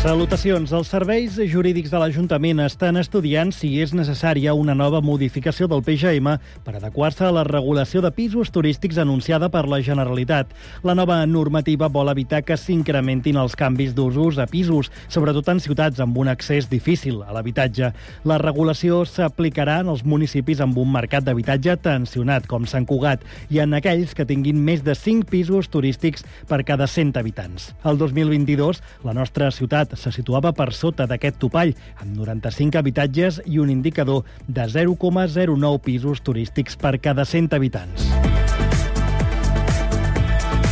Salutacions. Els serveis jurídics de l'Ajuntament estan estudiant si és necessària una nova modificació del PGM per adequar-se a la regulació de pisos turístics anunciada per la Generalitat. La nova normativa vol evitar que s'incrementin els canvis d'usos a pisos, sobretot en ciutats amb un accés difícil a l'habitatge. La regulació s'aplicarà en els municipis amb un mercat d'habitatge tensionat com Sant Cugat i en aquells que tinguin més de 5 pisos turístics per cada 100 habitants. El 2022, la nostra ciutat ciutat se situava per sota d'aquest topall, amb 95 habitatges i un indicador de 0,09 pisos turístics per cada 100 habitants.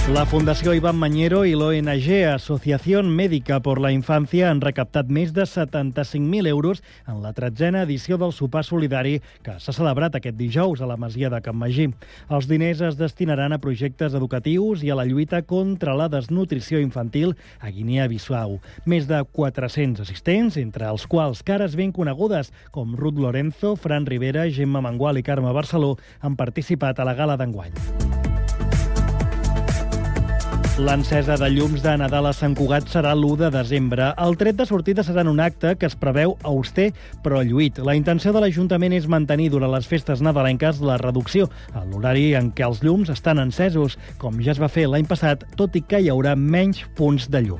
La Fundació Ivan Mañero i l'ONG Asociación Médica por la Infància han recaptat més de 75.000 euros en la tretzena edició del sopar solidari que s'ha celebrat aquest dijous a la Masia de Can Magí. Els diners es destinaran a projectes educatius i a la lluita contra la desnutrició infantil a Guinea Bissau. Més de 400 assistents, entre els quals cares ben conegudes com Ruth Lorenzo, Fran Rivera, Gemma Mangual i Carme Barceló, han participat a la gala d'enguany. L'encesa de llums de Nadal a Sant Cugat serà l'1 de desembre. El tret de sortida serà en un acte que es preveu auster però lluït. La intenció de l'Ajuntament és mantenir durant les festes nadalenques la reducció a l'horari en què els llums estan encesos, com ja es va fer l'any passat, tot i que hi haurà menys punts de llum.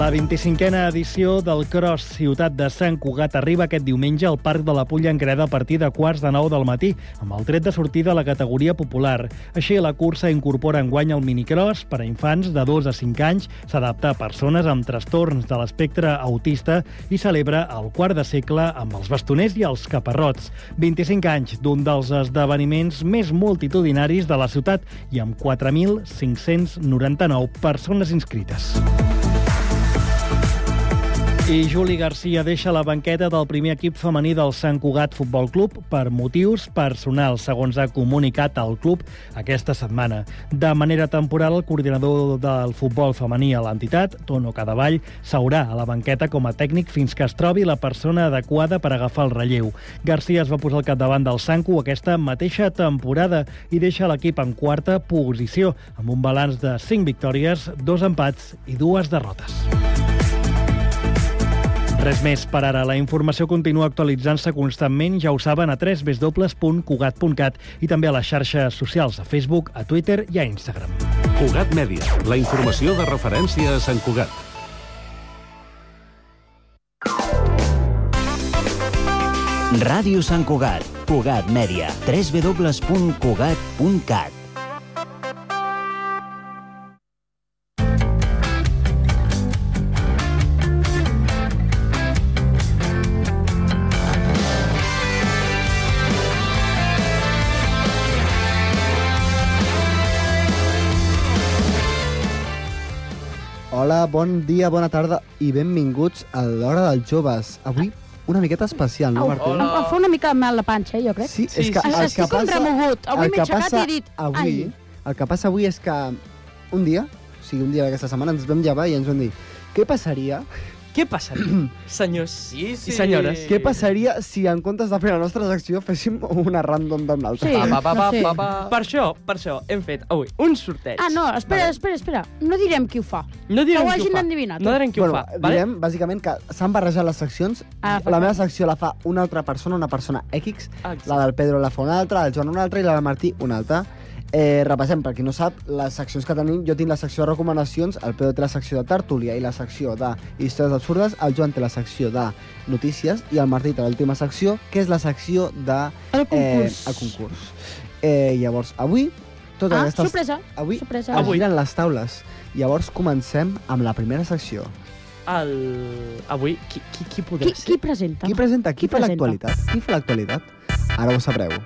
La 25a edició del Cross Ciutat de Sant Cugat arriba aquest diumenge al Parc de la Pulla en Creda a partir de quarts de nou del matí, amb el tret de sortida a la categoria popular. Així, la cursa incorpora en guany el minicross per a infants de 2 a 5 anys, s'adapta a persones amb trastorns de l'espectre autista i celebra el quart de segle amb els bastoners i els caparrots. 25 anys d'un dels esdeveniments més multitudinaris de la ciutat i amb 4.599 persones inscrites. I Juli Garcia deixa la banqueta del primer equip femení del Sant Cugat Futbol Club per motius personals, segons ha comunicat el club aquesta setmana. De manera temporal, el coordinador del futbol femení a l'entitat, Tono Cadavall, s'haurà a la banqueta com a tècnic fins que es trobi la persona adequada per agafar el relleu. Garcia es va posar al capdavant del Sanco aquesta mateixa temporada i deixa l'equip en quarta posició, amb un balanç de 5 victòries, dos empats i dues derrotes. Res més per ara. La informació continua actualitzant-se constantment, ja ho saben, a www.cugat.cat i també a les xarxes socials, a Facebook, a Twitter i a Instagram. Cugat Mèdia, la informació de referència a Sant Cugat. Ràdio Sant Cugat, Cugat Mèdia, www.cugat.cat. Hola, bon dia, bona tarda i benvinguts a l'Hora dels Joves. Avui una miqueta especial, no, Au, Martí? em va fer una mica mal la panxa, eh, jo crec. Sí, és que sí. el que Estic passa... entremogut. Avui el m'he que aixecat passa i he dit, Avui, ai. el que passa avui és que un dia, o sigui, un dia d'aquesta setmana, ens vam llevar i ens vam dir què passaria, Què passaria, senyors Sí, sí. i senyores? què passaria si en comptes de fer la nostra secció féssim una random d'una altra? Sí. Pa, pa, pa, No pa, sé. pa, pa. Per això, per això, hem fet avui un sorteig. Ah, no, espera, espera, espera. No direm qui ho fa. Eh, No que direm ho qui ho hagin fa. endevinat. eh? No direm qui bueno, ho fa, vale? direm, bàsicament, que s'han barrejat les seccions. la Ah, perfecte. meva secció la fa una altra persona, una persona X. Exacte. La del Pedro la fa una altra, la del Joan una altra i la del Martí una altra. Eh, repassem, per qui no sap, les seccions que tenim. Jo tinc la secció de recomanacions, el Pedro té la secció de tertúlia i la secció de històries absurdes, el Joan té la secció de notícies i el Martí té l'última secció, que és la secció de... El concurs. Eh, el concurs. Eh, llavors, avui... Totes Ah, aquestes... sorpresa. Avui, Sorpresa. es giren les taules. Llavors comencem amb la primera secció. El... Avui, qui, qui, qui podrà Qui, ser? qui presenta? Qui presenta? Qui, Qui fa presenta? l'actualitat? Qui fa l'actualitat? Ara ho sabreu.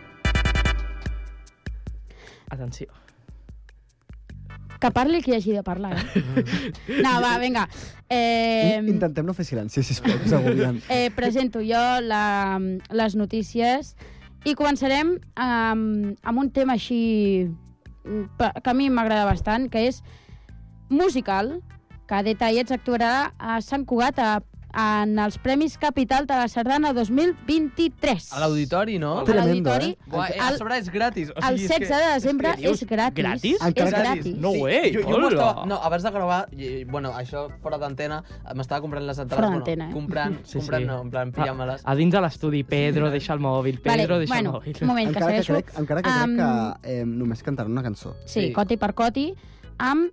Atenció. Que parli qui hagi de parlar, eh? no, va, vinga. Eh, Intentem no fer silenci, sisplau, que us agobien. eh, presento jo la, les notícies i començarem amb, amb un tema així mm, pe- que a mi m'agrada bastant, que és musical, que a detallets actuarà a Sant Cugat a en els Premis Capital de la Sardana 2023. A l'auditori, no? A Tremendo, l'auditori. eh? Buah, eh, a El- sobre és gratis. O El sigui, és 16 que... de desembre Què dius? és gratis. Gratis? És Encara- gratis. No way, jo, jo hola. m'estava- no, abans de gravar, i, bueno, això fora d'antena, m'estava comprant les entrades. Fora bueno, d'antena, eh? Comprant, Sí, Ah. sí. comprant no, en plan, pillant-me-les. A dins de l'estudi, Pedro, deixa el mòbil, Pedro, deixa bueno, el mòbil. un moment, que Encara que, segueixo. crec, encara que crec Am- que eh, només cantaran una cançó. Sí, Sí. coti per coti, amb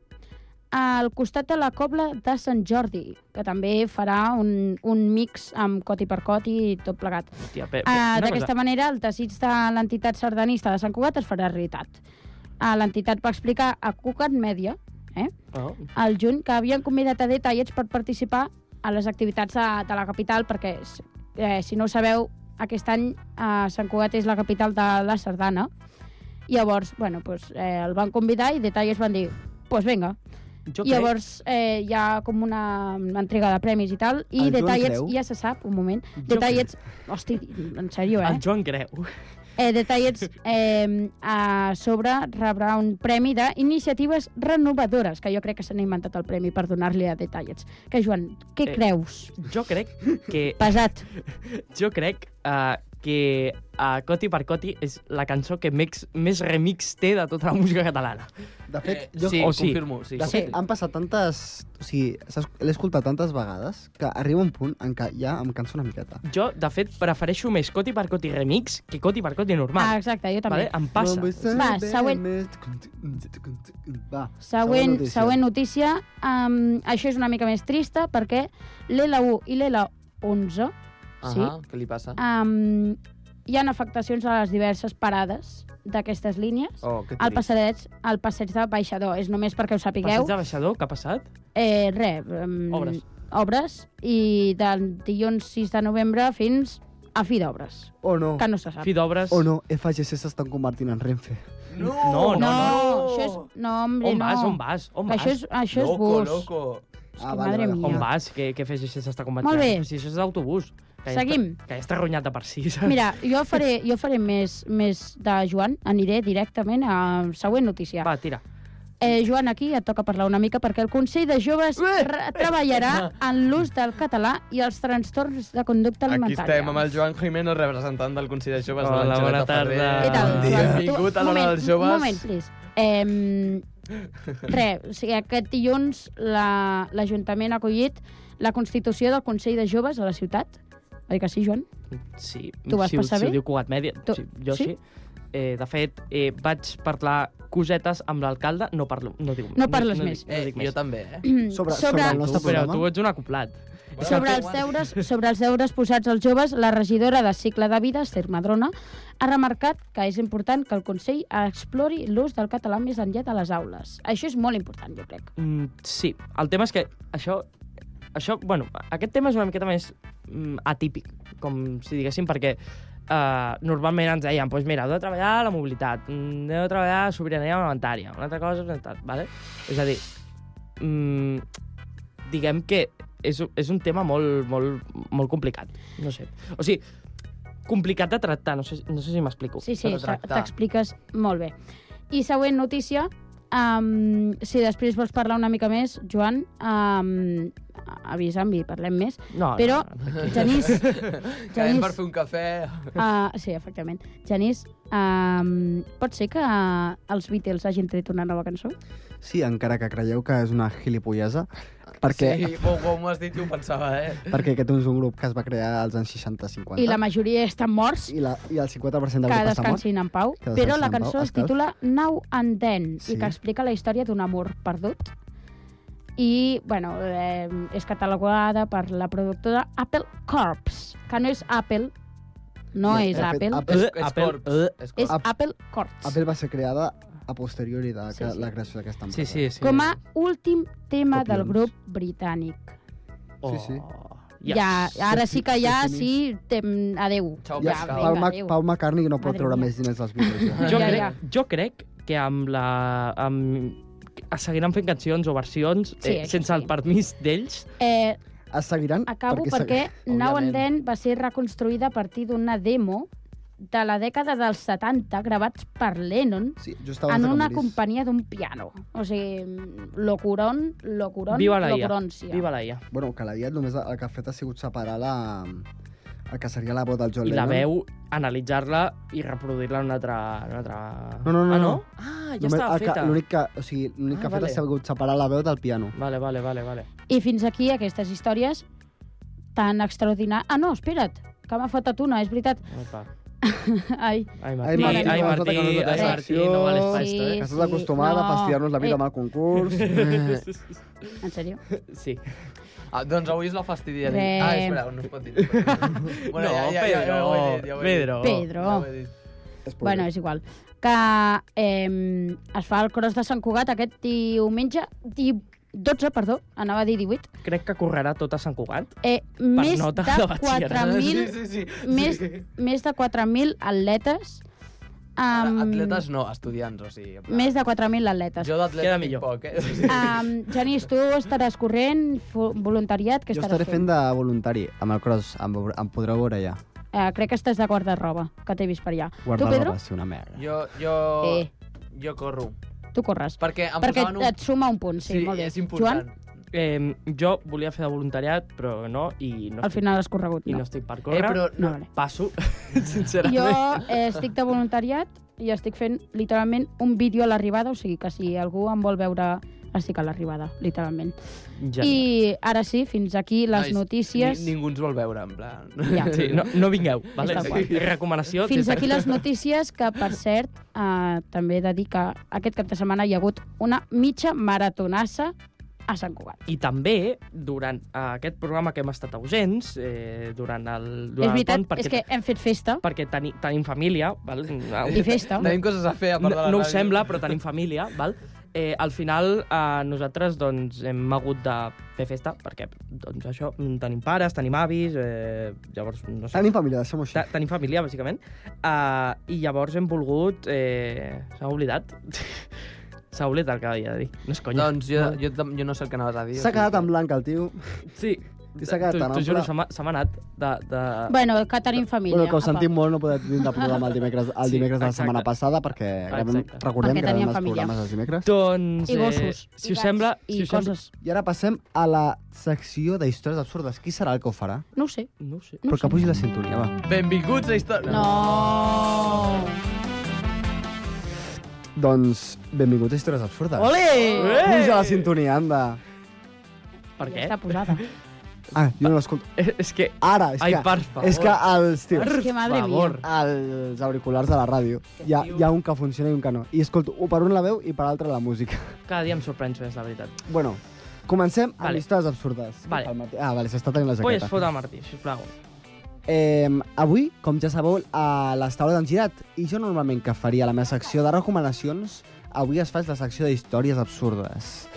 al costat de la cobla de Sant Jordi, que també farà un, un mix amb coti per coti i tot plegat. Hòstia, Pep, Uh, una D'aquesta cosa. manera, el desig de l'entitat sardanista de Sant Cugat es farà realitat. Uh, l'entitat va explicar a Cugat Media Oh. al juny que havien convidat a detallets per participar a les activitats de, de la capital, perquè, s- eh, si no ho sabeu, aquest any eh, Sant Cugat és la capital de la Sardana. I Llavors, bueno, pues, eh, el van convidar i detallets van dir pues vinga. Jo I Llavors eh, hi ha com una entrega de premis i tal, El i Joan detallets, creu? ja se sap, un moment, Jo detallets, hosti, en sèrio, eh? El Joan Greu. Eh, detallets eh, a sobre rebrà un premi d'iniciatives renovadores, que jo crec que s'han inventat el premi per donar-li a detallets. Que, Joan, què Eh. creus? Jo crec que... Pesat. Jo crec uh, que uh, Coti per Coti és la cançó que mex, més remix té de tota la música catalana. De fet, jo, jo, sí, o sí. confirmo. Sí, de sí. fet han passat tantes... O sigui, s'ha- l'he escoltat tantes vegades que arriba un punt en què ja em canso una miqueta. Jo, de fet, prefereixo més Coti per Coti remix que Coti per Coti Ah, normal. exacte, jo també. vale? Em passa. Va, següent. Va, Següent, següent notícia. Um, això és una mica més trista perquè l'L1 i l'L11 sí, Ahà, què li passa? um, hi han afectacions a les diverses parades d'aquestes línies. Oh, que El trist. passeig, el passeig de Baixador, és només perquè ho sapigueu. Passeig de baixador, què ha passat? Eh, re, um, Mm. Obres. obres i del dilluns 6 de novembre fins a fi d'obres, O no, que no se sap. Fi d'obres... o no, FGC s'estan convertint en Renfe. No! No, no, això és... No, hombre, On no. vas, on vas, on vas? Això és, això és Loco, bus. loco. És Ah, que, vale, madre vale. mia. On vas? Què, què fes això s'està convertint? Molt bé. Si això és d'autobús. Que ja Seguim. Està, que ja està arruïnat de per si. saps? Mira, jo faré, jo faré més, més de Joan, aniré directament a següent notícia. Va, tira. Eh, Joan, aquí et toca parlar una mica perquè el Consell de Eh, Joves re- treballarà en l'ús del català i els trastorns de conducta Aquí alimentària. estem amb el Joan Jiménez, representant del Consell de Joves Hola, de l'Angeleta bona tarda. Ferrer. Què tal? Bon dia. Joan? Tu- Benvingut a un l'Hora moment, dels Un Joves. moment, please. Eh, re, o sigui, aquest dilluns la- l'Ajuntament la, ha acollit la Constitució del Consell de Joves a la ciutat. Oi que sí, Joan? Sí, Tu vas si, ho- passar si bé? ho diu Cugat Mèdia, Tu- sí, jo sí? sí. Eh, de fet, eh, vaig parlar cosetes amb l'alcalde, no parlo, no diu No parles no, més. Dic, no Eh, dic jo més. també, eh? Sobre, sobre, Mm, Sobre- el Tu, nostre però programa. tu ets un acoplat. Sobre els, deures, sobre els deures posats als joves, la regidora de Cicle de Vida, Esther Madrona, ha remarcat que és important que el Consell explori l'ús del català més enllà de les aules. Això és molt important, jo crec. Mm, sí, el tema és que això... Això, bueno, aquest tema és una miqueta més mm, atípic, com si diguéssim, perquè eh, normalment ens deien, doncs mira, heu de treballar la mobilitat, mm, heu de treballar la sobirania alimentària, una altra cosa, una altra, vale? És a dir, mm, diguem que és, és un tema molt, molt, molt complicat, no sé. O sigui, complicat de tractar, no sé, no sé si m'explico. Sí, sí, de s'ha- tractar. t'expliques molt bé. I següent notícia, um, si després vols parlar una mica més, Joan, um, avisa'm i parlem més. No, no, Però, no, no. Genís, Quedem per Genís, fer un cafè. uh, sí, efectivament. Genís, um, pot ser que uh, els Beatles hagin tret una nova cançó? Sí, encara que creieu que és una gilipollesa, perquè, Sí, bo, bo, m'ho has dit i ho pensava, eh? perquè aquest és un grup que es va crear als anys 60-50 I la majoria estan morts, i, la, i el 50% del que grup està mort. descansin en pau. Que descansin Però la en pau, cançó es Escalf. titula Now and Then Sí. i que explica la història d'un amor perdut. I, bueno, eh, és catalogada per la productora Apple Corps, que no és Apple, No, no és de fet, Apple, Apple- És, Eh, és Apple, corps. eh, És és corps. Ap- Apple Corps. Apple va ser creada a posteriori de sí, Sí, sí. sí. la creació d'aquesta empresa. Sí, sí, sí. Com a últim tema del Copions. grup britànic. Sí, sí. Oh, Yes. Ja, ara sí que ja, Definis. sí, tem, adeu. Ciao, Ja, Pascal. Paul, Mac, adeu. Paul McCartney no pot Madre treure mia. més diners dels Beatles. Ja. Jo, Ja, ja, crec, ja. ja. jo crec que amb la... Amb, que seguiran fent cancions o versions Sí, eh, això sí. sense el permís d'ells. Eh, Es seguiran Acabo perquè, se- Now and Òbviament. Then va ser reconstruïda a partir d'una demo de la dècada dels 70 gravats per Lennon Sí, just abans en de que una morís. companyia d'un piano. O sigui, locurón, locurón, Viva la IA. locuroncia. Viva la IA. Bueno, que la diet només el que ha fet ha sigut separar la... el que seria la veu del John I la Lennon. veu, analitzar-la i reproduir-la en una altra... En una altra... No, no, no, Ah, no? no. Ah, ja Només estava el que- feta. L'únic que, o sigui, l'únic que Ah, ha fet vale. ha sigut separar la veu del piano. Vale, vale, vale, vale. I fins aquí aquestes històries tan extraordinàries. Ah, no, espera't, que m'ha fotut una, és veritat. Ai, pa. Ai, Ai, Ai, Martí, ai, Martí, Martí, ai, no, Martí, escolta, que no és la no vales secció. pa esto, Sí. eh? Que estàs acostumada no. a fastidiar-nos la vida Eh. amb el concurs. en sèrio? Sí. Ah, doncs avui és la fastidiaré. Re. Ah, espera, no es pot dir. No, es pot dir. bueno, ja, ja, ja, ja, ho he dit, ja ho he dit. Pedro. Pedro. Ja ho he dit. És Bueno, és igual. Que eh, es fa el cross de Sant Cugat aquest diumenge, di... 12, perdó, anava a dir 18. Crec que correrà tot a Sant Cugat. Eh, més nota de de batxillerat. 4.000 Sí, sí, sí. més, sí. més de 4.000 atletes. Ara, Amb... Atletes no, estudiants, o sigui... en plan, um, Més de 4.000 atletes. Jo Queda d'atleta millor. tinc poc, eh? Sí. Um, Genís, tu estaràs corrent, fu- voluntariat, què jo estaràs estaré fent de voluntari amb el cross, em, veure- em podreu veure allà. Eh, crec que estàs de guarda-roba, que t'he vist per allà. Guardar tu, Pedro? roba, sí, una merda. Jo, jo, Eh, jo corro. tu corres. Perquè em Perquè posaven un... et suma un punt, sí, molt bé. és important. Joan, Eh, jo volia fer de voluntariat, però no, i no, al estic, final has corregut, i no no. estic per eh, córrer. però... No, vale. Passo, Jo sincerament. eh, estic de voluntariat i estic fent literalment un vídeo a l'arribada, o sigui que si algú em vol veure estic a l'arribada, literalment. Ja. I ara sí, fins aquí les Nois, notícies. Ni, ningú ens vol veure, en plan... Ja. Sí, no, no vingueu, vale? Està guai. Sí. Recomanació. Fins des de- aquí les notícies, que per cert, eh, també he de dir que aquest cap de setmana hi ha hagut una mitja maratonassa a Sant Cugat. I també, durant eh, aquest programa que hem estat ausents, eh, durant el, és durant veritat, el pont, perquè, és que hem fet festa, perquè teni, tenim família, val? i festa, Tenim coses a fer, a no, part de la no ho ràdio. sembla, però tenim família, val? Eh, al final, eh, nosaltres doncs, hem hagut de fer festa, perquè doncs, això, mm, tenim pares, tenim avis, eh, llavors, no sé... Tenim família, deixem-ho així. te- tenim família, bàsicament. Eh, I llavors hem volgut... Eh, S'ha oblidat. S'ha oblidat el que havia de dir. No és conya. Doncs jo, jo, tam- jo no sé el que anaves a dir. S'ha quedat en blanc el tio. Doncs, Sí. T'hi s'ha quedat T'ho tan t'ho ample. juro, se m'ha se m'ha anat de... de... bueno, que tenim família. bueno, que ho apa. sentim molt no poder tindre programa el dimecres, el Sí, dimecres de la exacte. Ah, setmana passada perquè gravem, Exacte. recordem Perquè que gravem teníem els família. programes els dimecres. Doncs, I gossos, Eh, si i us gats, sembla... i si us sembla... coses. I ara passem a la secció de històries absurdes. Qui serà el que ho farà? No ho sé. No ho sé. No Però ho que sé. pugi la sintonia, va. Benvinguts a Història... No! Doncs benvinguts a Històries Absurdes. Ole! Puja la sintonia, anda. Per Ja què? Està posada. Ah, jo no l'escolto. Eh, És que... Ara, és Ai, que, per favor. és que els tios, És que, madre favor. els auriculars de la ràdio, hi ha, hi ha un que funciona i un que no. I escolto, un per un la veu i per l'altre la música. Cada dia em sorprens més, la veritat. Bueno, comencem amb Vale. històries absurdes. Vale. Què fa el Martí? Ah, vale, s'està tenint la Vull es jaqueta. fot a Martí, sisplau. Eh, avui, com ja sabeu, a les taules han girat i jo normalment que faria la meva secció de recomanacions, avui es faig la secció de històries absurdes.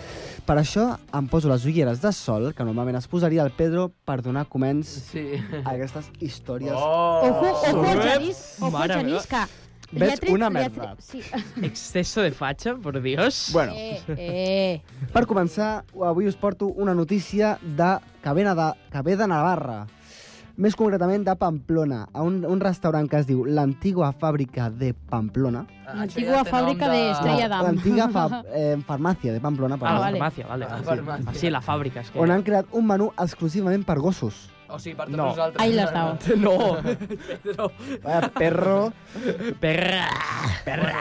Per això em poso les ulleres de sol, que normalment es posaria el Pedro per donar coments Sí. a aquestes històries. Oh! Ojo, ojo, Sobrep. Genís, ojo, Mare Genís, que... li Veig ha tret- una li ha merda. tret- Sí. Exceso de fatxa, por Dios. Bueno, Eh, eh. per començar, avui us porto una notícia de que ve de, que ve de Navarra. Més concretament de Pamplona, a un, un restaurant que es diu l'Antigua Fàbrica de Pamplona. Ah, L'antigua fàbrica d'Estrella Ah. d'Am. L'antiga fa, eh, farmàcia de Pamplona, A la perdó. vale. farmàcia, vale. Ah, Ah, sí. farmàcia. Ah, sí, la fàbrica, és que... on han creat un menú exclusivament per gossos. O sigui, per tots No. nosaltres. Ahí les dao. No! Pedro. Vaya perro. Perra! Perra!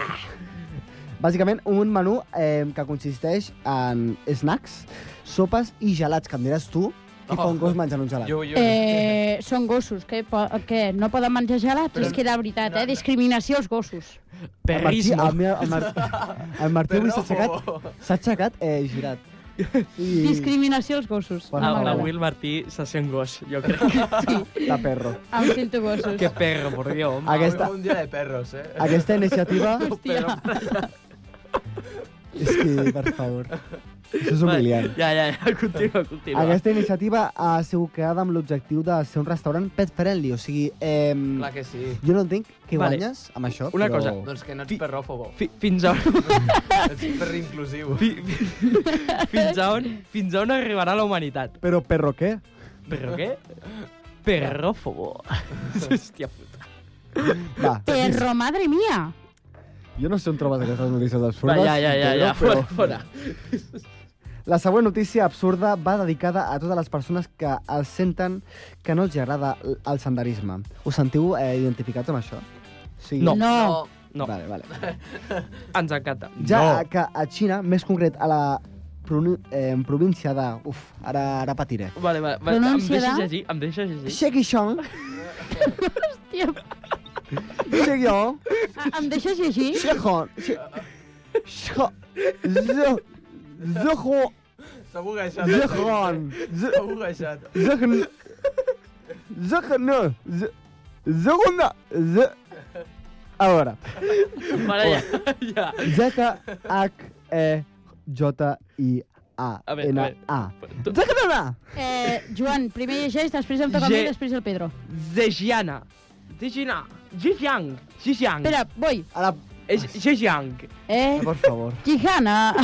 Bàsicament, un menú eh, que consisteix en snacks, sopes i gelats, que em diràs tu qui fa Oh. un gos menjant un gelat. Jo, jo. Eh, són gossos, que, po que no poden menjar gelat, Però- és que de veritat, no, no. eh? Discriminació als gossos. El Martí, Perrismo. el, meu, el, Martí, el Martí avui s'ha aixecat, s'ha aixecat eh, girat. I Discriminació als gossos. Per no favor. Ah, m'agrada. avui el Martí se sent gos, jo crec. de perro. Em sento gossos. Eh, que perro, por Dios. home. Aquesta, Un dia de perros, eh? aquesta iniciativa... Hòstia. És que, per favor, això és humiliant. Ja, ja, ja, continua, continua. Aquesta iniciativa ha sigut creada amb l'objectiu de ser un restaurant pet-friendly, o sigui... Eh, Clar que sí. Jo no entenc què Vale. guanyes amb això, Una però... cosa. Doncs que no ets perròfobo. Fi, fins a on... Ets perinclusiu. Fi, fi, fins a on... Fins a on arribarà la humanitat. Però perro què? Però què? Perròfobo. Hòstia puta. Va, Perro, madre mía! jo no sé on trobes aquestes notícies Va, absurdes. ja, ja, ja, Pedro, ja, fora, fora. La següent notícia absurda va dedicada a totes les persones que es senten que no els agrada l- el senderisme. Us sentiu eh, identificats amb això? Sí. No. No. No. Vale, vale. Ens encanta. Ja no. que a Xina, més concret a la pronu- eh, província de... Uf, ara, ara patiré. Vale, vale, vale. Em Pronúncia deixes de- llegir? Em deixes llegir? Shekishong, Tio, Shekyo, a- em deixes llegir? Shekon, Shekon, Zehon, Zehon, Segur que això... Zehon, Segur que això... Zehon, Zehon, Zehon, Zehon, a veure, Mare, ja, ja. e, A veure, a Z-H-H-J-I-A-N-A. Tu- Zehona! Eh, Joan, primer llegeix, després em toca a mi Ge- i després el Pedro. Zhejiana. Zhejiana. Zhejiang. Zhejiang. Espera, voy. Ara, És Zhejiang. Eh, per favor. Gijana.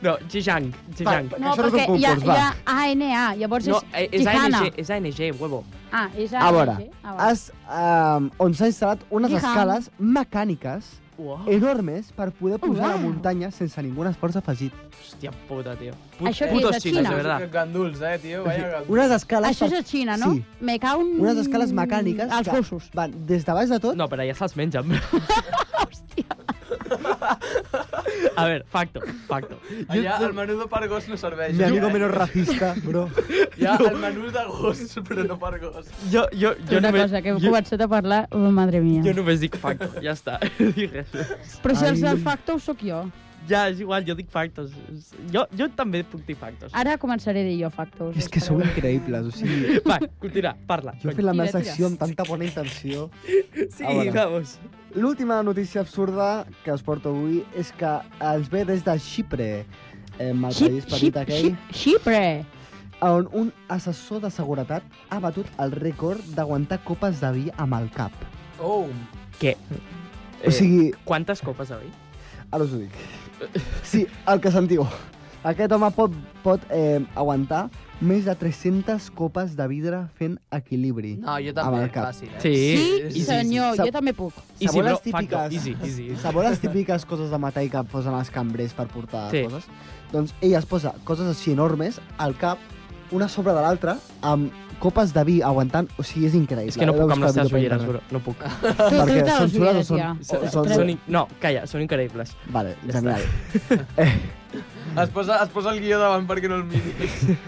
No, Zhejiang. Zhejiang. això no és un hi ha, concurs, hi ha ANA, llavors No, eh, és és Gijana. ANG, és ANG, huevo. Ah, és ANG. A veure, Ah, vale. es, um, on s'han instal·lat unes Gijam. escales mecàniques Uau, enormes per poder pujar a la Oh, Uau. muntanya sense ningú esforç afegit. hòstia puta, tio. Put, Això què putos és, de xinos, Xina? de verdad. Ganduls, eh, tio? Vaya ganduls. Unes escales... Això és a Xina, no? Sí. Me cau un... Unes escales mecàniques Als que- gossos. Van des de baix de tot... No, però ja se'ls mengen. A veure, facto, facto. Allà el menú per gos no serveix. Mi amigo menos racista, bro. Hi ha el menú de gos, però no per gos. Jo, jo, jo una només, cosa, que heu jo, començat a parlar... Oh, madre mia. jo només dic facto, ja està. Dic res. Però si els Ai. del facto sóc jo. ja, és igual, jo dic factos. Jo, jo també puc dir factos. Ah. Ara començaré a dir jo factos. És que sou Espereu. increïbles, o sigui... Va, continua, parla. Jo he fet la cony. meva Tira, tira. secció amb tanta bona intenció. Sí, Ah, vale. vamos. L'última notícia absurda que us porto avui és que ens ve des de Xipre, eh, el país Xip, petit xip, aquell, xip, xipre. on un assessor de seguretat ha batut el rècord d'aguantar copes de vi amb el cap. Oh, Què? Eh. O sigui, Quantes copes avui? ara us ho dic. Sí, el que sentiu. Aquest home pot, pot eh, aguantar més de 300 copes de vidre fent equilibri. no, jo Amb també, el cap. fàcil, eh? Sí, sí, sí. senyor, Sap- jo també puc. Easy, Sabó bro, les típiques. facto, easy, easy. Sabó les típiques coses de metall que posen els cambrers per portar Sí. sí. coses? Doncs ell es posa coses així enormes al cap, una sobre de l'altra, amb copes de vi aguantant, o sigui, és increïble. Eh? És que no Heu de puc amb les buscar teves vídeo per ulleres, bro. No puc. Tu, internet. tu Perquè te són les xules o ulleres, són... ja. o Són, són- són, in- no, calla, són increïbles. Vale, Ja genial. Eh, Es posa, es posa el guió davant perquè no el miri.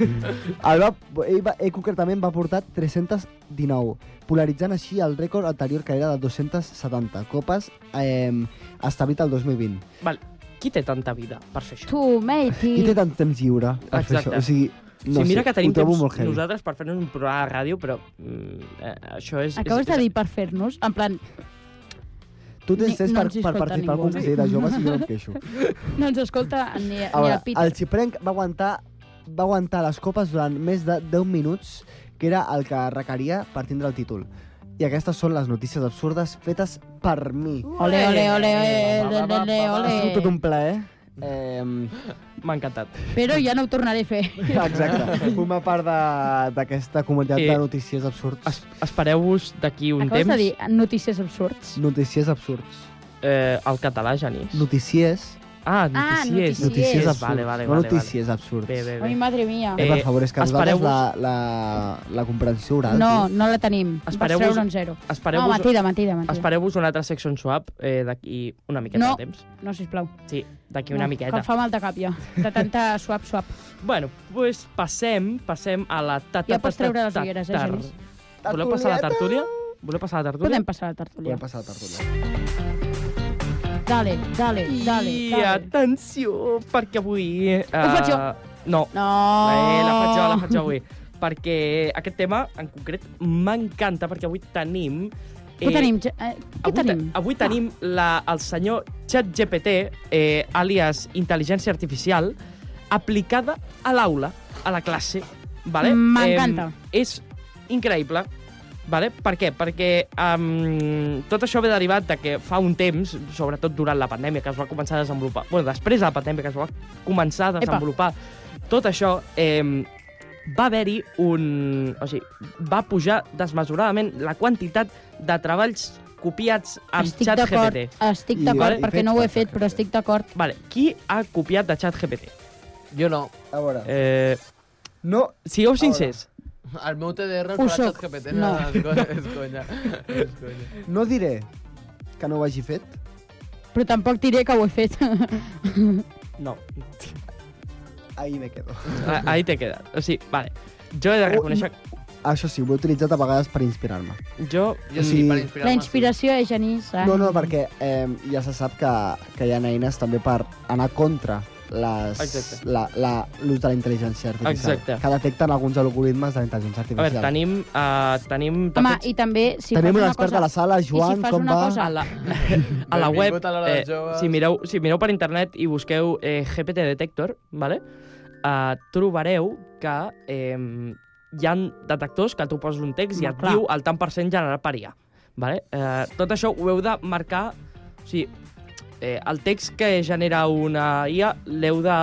El va, ell, va, ell concretament va portar 319, polaritzant així el rècord anterior que era de 270 copes eh, establit el 2020. Val, qui té tanta vida per fer això? Tu, matey. Qui té tant temps lliure per fer Exacte. això? O sigui, No no sí, mira sé, que tenim ho trobo temps molt heavy. nosaltres per fer-nos un programa de ràdio, però mm, eh, això és... Acabes és, de dir per fer-nos? En plan, Tu Ni- tens temps no per, ens hi per escolta participar al ningú. Consell de Joves i jo no em queixo. no ens escolta ni, ni A el veure, Pit. Ah, el xiprenc va aguantar, va aguantar les copes durant més de 10 minuts, que era el que requeria per tindre el títol. I aquestes són les notícies absurdes fetes per mi. Ole, ole, ole, ole, Va, va, va, ole, va, va. Ha sigut tot ole. un plaer. Eh, M'ha encantat. Però ja no ho tornaré a fer. exacte. Formar part de- d'aquesta comunitat Eh, de notícies absurds. Es, Espereu-vos d'aquí un Acabes temps de dir notícies absurds? Notícies absurds. eh, el català, Genís. Notícies. ah, Ah, notícies. notícies. Notícies absurds. Vale, vale, no vale. notícies absurds. Vale. Bé, bé, Ai, bé. madre mia. Eh, per Eh, favor, és que nosaltres la, espereu-vos- la, la comprensió oral... No, no la tenim. Vas Espereu-vos- treure un zero. No, Espereu-vos mentida, mentida, mentida. espereu una altra section swap eh, d'aquí una miqueta No. de temps. No, sisplau. Sí, d'aquí una no, Que miqueta. em fa mal de cap, ja. De tanta suap, suap. Bueno, pues passem, passem a la ta ta Ja pots ta- treure les ta- ulleres, eh, tar. Genís? Voleu passar a la tertúlia? Voleu passar a la tertúlia? Podem passar a la Podem tertúlia. passar a la tertúlia. Dale, dale, dale, I dale. atenció, perquè avui... Eh, Ho faig jo. No, No. eh, la faig jo, la Oh. faig jo avui. perquè aquest tema, en concret, m'encanta, perquè avui tenim... Ho tenim. ja- Eh, què Avui, te- tenim? avui tenim la, el senyor ChatGPT, eh, alias Intel·ligència Artificial, aplicada a l'aula, a la classe. Vale? Mm, M'encanta. Eh, és increïble. Vale? Per què? Perquè um, tot això ve derivat de que fa un temps, sobretot durant la pandèmia, que es va començar a desenvolupar... bueno, després de la pandèmia, que es va començar a desenvolupar tot això... Eh, va haver-hi un... O sigui, va pujar desmesuradament la quantitat de treballs copiats amb estic xat d'acord, GPT. estic I- d'acord, i perquè fet no ho he per fet, però ChatGPT. estic d'acord. Vale, qui ha copiat de xat GPT? Jo no. A veure... Eh, No, sigueu Ahora. sincers. El meu TDR Ho farà soc. xat GPT. No. No. és conya, és conya. És conya. no diré que no ho hagi fet. Però tampoc diré que ho he fet. No. Ahir me quedo. Ah, Ahí te queda. O sigui, vale. Jo he de Oh, reconèixer... Això sí, ho he utilitzat a vegades per inspirar-me. Jo... Jo sí, Mm. per inspirar-me. La inspiració és genís. Ah. Eh? No, no, perquè eh, ja se sap que, que hi ha eines també per anar contra les- Exacte. la- la- l'ús de la intel·ligència artificial. Exacte. Que detecten alguns algoritmes de la intel·ligència A veure, artificial. tenim... Uh, tenim de Home, fet, i també, si Tenim fas un una expert cosa... a la sala, Joan, fas com una va? cosa- a la, a la web, eh, Benvingut a l'hora dels joves. si, mireu, si mireu per internet i busqueu eh, GPT Detector, vale? Uh, trobareu que eh, hi han detectors que tu poses un text i Home, et clar. diu el tant per cent generat per IA. Vale? Eh, tot això ho heu de marcar... O sigui, eh, el text que genera una IA l'heu de,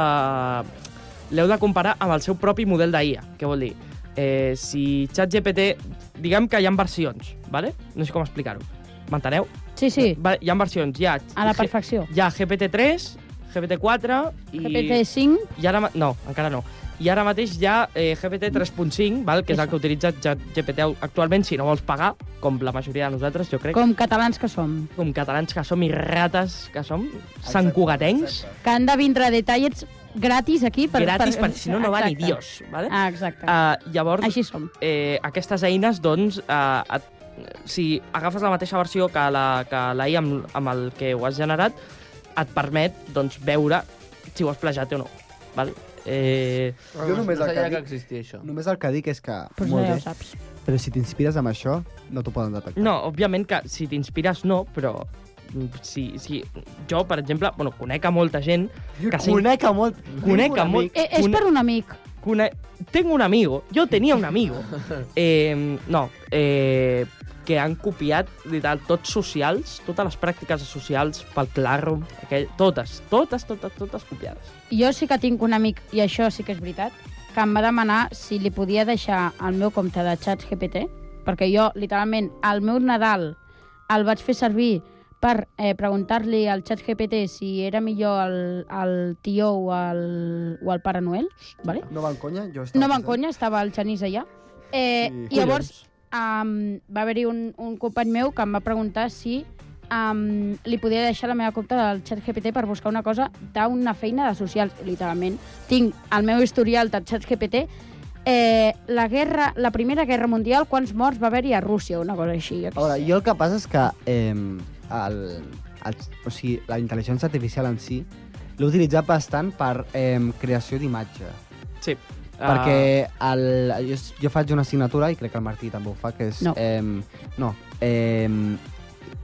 l'heu de comparar amb el seu propi model d'IA. Què vol dir? Eh, si ChatGPT... Diguem que hi ha versions, vale? no sé com explicar-ho. M'enteneu? Sí, sí, Va, hi ha versions, hi ha... a la perfecció. Hi ha GPT-3, GPT-4 i... GPT-5, I ara, ma- no, encara no. I ara mateix hi ha eh, GPT 3.5, val? que és el Això. que utilitza ja- GPT actualment si no vols pagar, com la majoria de nosaltres, jo crec. com Com, catalans que som, com catalans que som i rates que som, Exacte, santcugatencs, exacte. que han de vindre detallets gratis aquí. Per, gratis, perquè si no, no va ni Exacte. Dios. Vale? Ah, exacte. Uh, llavors, Així som. eh, aquestes eines, doncs, eh, et, si agafes la mateixa versió que la, que la I amb, amb el que ho has generat, et permet doncs, veure si ho has plagiat o no. Val? Eh, Jo només no el que sabia que dic- existia això. Només el que dic és que, Però molt no ja ho bé, saps. però si t'inspires amb això, no t'ho poden detectar. no, òbviament que si t'inspires no, però mm, si, si jo, per exemple, bueno, conec a molta gent que s'in- Conec a molt... Conec a un molt- amic- Eh, és Un- per un amic. Cone- Tengo un amigo, yo tenía un amigo, eh, no, eh, que han copiat literal tots socials, totes les pràctiques socials pel Classroom, aquell, totes, totes, totes, totes copiades. Jo sí que tinc un amic, i això sí que és veritat, que em va demanar si li podia deixar el meu compte de xats GPT, perquè jo, literalment, el meu Nadal el vaig fer servir per eh, preguntar-li al xat GPT si era millor el, el tio o el, o el Pare Noel. Vale? No van conya? Jo estava No me'n pensant. conya, estava el Xanís allà. Eh, Sí. sí. Llavors, um, va haver-hi un, un company meu que em va preguntar si um, li podia deixar la meva compte del xat GPT per buscar una cosa d'una feina de socials, literalment. Tinc el meu historial del xat GPT eh, la, guerra, la Primera Guerra Mundial, quants morts va haver-hi a Rússia, una cosa així. Jo A què veure, sé. jo el que passa és que eh, el, el, o sigui, la intel·ligència artificial en si l'he utilitzat bastant per eh, creació d'imatge. Sí. Ah. Perquè el, jo, s- jo faig una assignatura, i crec que el Martí també ho fa, que és... No. Eh, no eh,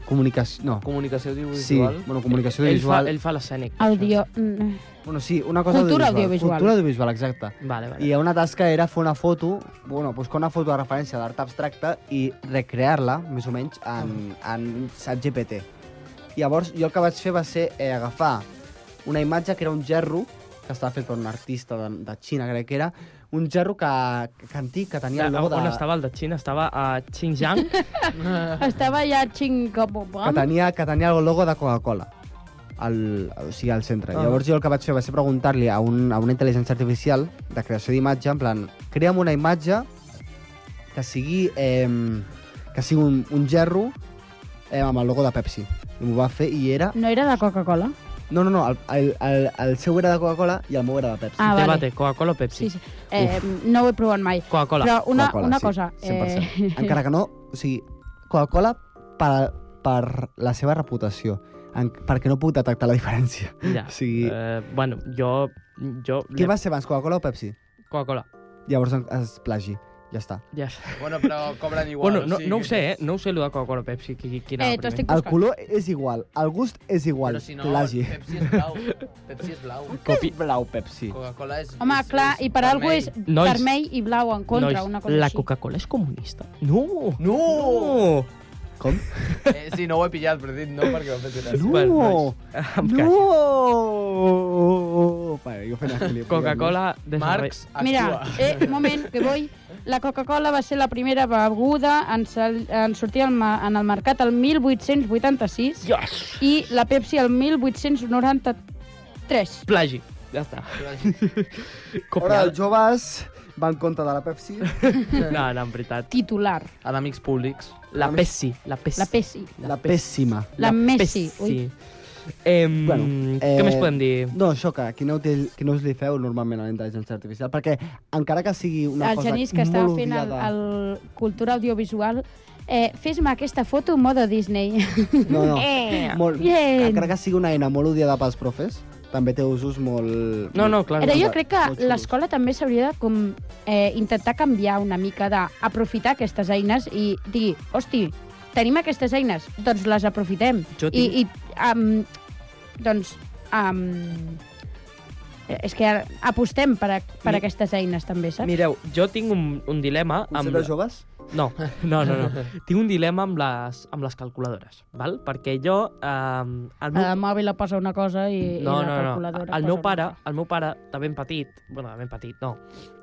comunicació... No. Comunicació Sí, audiovisual. bueno, comunicació ell, audiovisual. Fa, ell fa l'escènic. Audio... Mm, Bueno, sí, una cosa Cultura audiovisual. Cultura audiovisual, exacte. Vale, vale. I una tasca era fer una foto, bueno, buscar una foto de referència d'art abstracte i recrear-la, més o menys, en, Ah. en ChatGPT. Llavors, jo el que vaig fer va ser eh, agafar una imatge que era un gerro, que estava fet per un artista de, de Xina, crec que era, un gerro que, que antic, que tenia el logo de... On estava el de Xina? Estava a Xinjiang. estava ja que xingabobam. tenia, que tenia el logo de Coca-Cola al, o sigui, al centre. Ah. Ah. Llavors jo el que vaig fer va ser preguntar-li a, un, a una intel·ligència artificial de creació d'imatge, en plan, crea'm una imatge que sigui, eh, que sigui un, un gerro eh, amb el logo de Pepsi. I m'ho va fer i era... No era de Coca-Cola? No, no, no, el, el, el, el seu era de Coca-Cola i el meu era de Pepsi. Ah, vale. Debate, Coca-Cola o Pepsi? Sí, sí. Eh, no ho he provat mai. Coca-Cola. Però una, Coca-Cola, una sí, cosa... eh, 100%. Encara que no, o sigui, Coca-Cola per, per la seva reputació, en, perquè no puc detectar la diferència. Ja. O sigui, Eh, bueno, jo... jo Què va ser abans, Coca-Cola o Pepsi? Coca-Cola. Llavors es plagi, ja està. Ja. Bueno, però cobren igual. Bueno, no, o sigui no ho que- sé, eh? No ho sé, allò de Coca-Cola o Pepsi. Qui, qui, qui anava Eh, t'ho primer. estic El buscant. color és igual, el gust és igual, Però si no, plagi. Pepsi és blau. Pepsi és blau. Copi... Blau, Pepsi. Coca-Cola és... Home, és, clar, és i per algú és vermell. Nois. vermell i blau en contra, Nois, una cosa la així. Coca-Cola és comunista? No! No! Com? Eh, sí, no ho he pillat, però he dit no perquè m'ha fet gràcia. No! No! Bueno, nois, em no! Opa, jo fent el clip. Coca-Cola de Servei. Marx, actua. Mira, eh, un moment, que vull. La Coca-Cola va ser la primera beguda en, sal- en sortir al ma- en el mercat el 1886 Yes! i la Pepsi el 1893. Plagi. Ja està. Ara, Copiada. els joves van contra de la Pepsi. No, no, en veritat. Titular. Enemics públics. La Pessi. La Pessi. La Pepsi. La pèssima. La Messi. Ui. Pessi. Em, Bueno, eh, Què més podem dir? No, això que, que, no, util, que no us li feu normalment a la intel·ligència artificial, perquè encara que sigui una El cosa Genís, que molt estava fent el, odiada... el Cultura Audiovisual, eh, fes-me aquesta foto mode Disney. No, no. Eh. Molt, Bien. encara que sigui una eina molt odiada pels profes, també té usos molt... No, no, clar. Però jo molt- crec que molt xulos. l'escola també s'hauria de com, eh, intentar canviar una mica, d'aprofitar aquestes eines i dir, hosti, tenim aquestes eines, doncs les aprofitem. Jo I, tinc- i um, doncs, um, és que apostem per, a, per Mi- aquestes eines també, saps? Mireu, jo tinc un, un dilema Potser amb... de joves? No, no, no, no. Tinc un dilema amb les, amb les calculadores, val? Perquè jo... Eh, el A la mòbil la posa una cosa Ehm, i, no, i la no, no. calculadora El posa meu una pare, altra. el meu pare, de ben petit, bueno, de ben petit, no,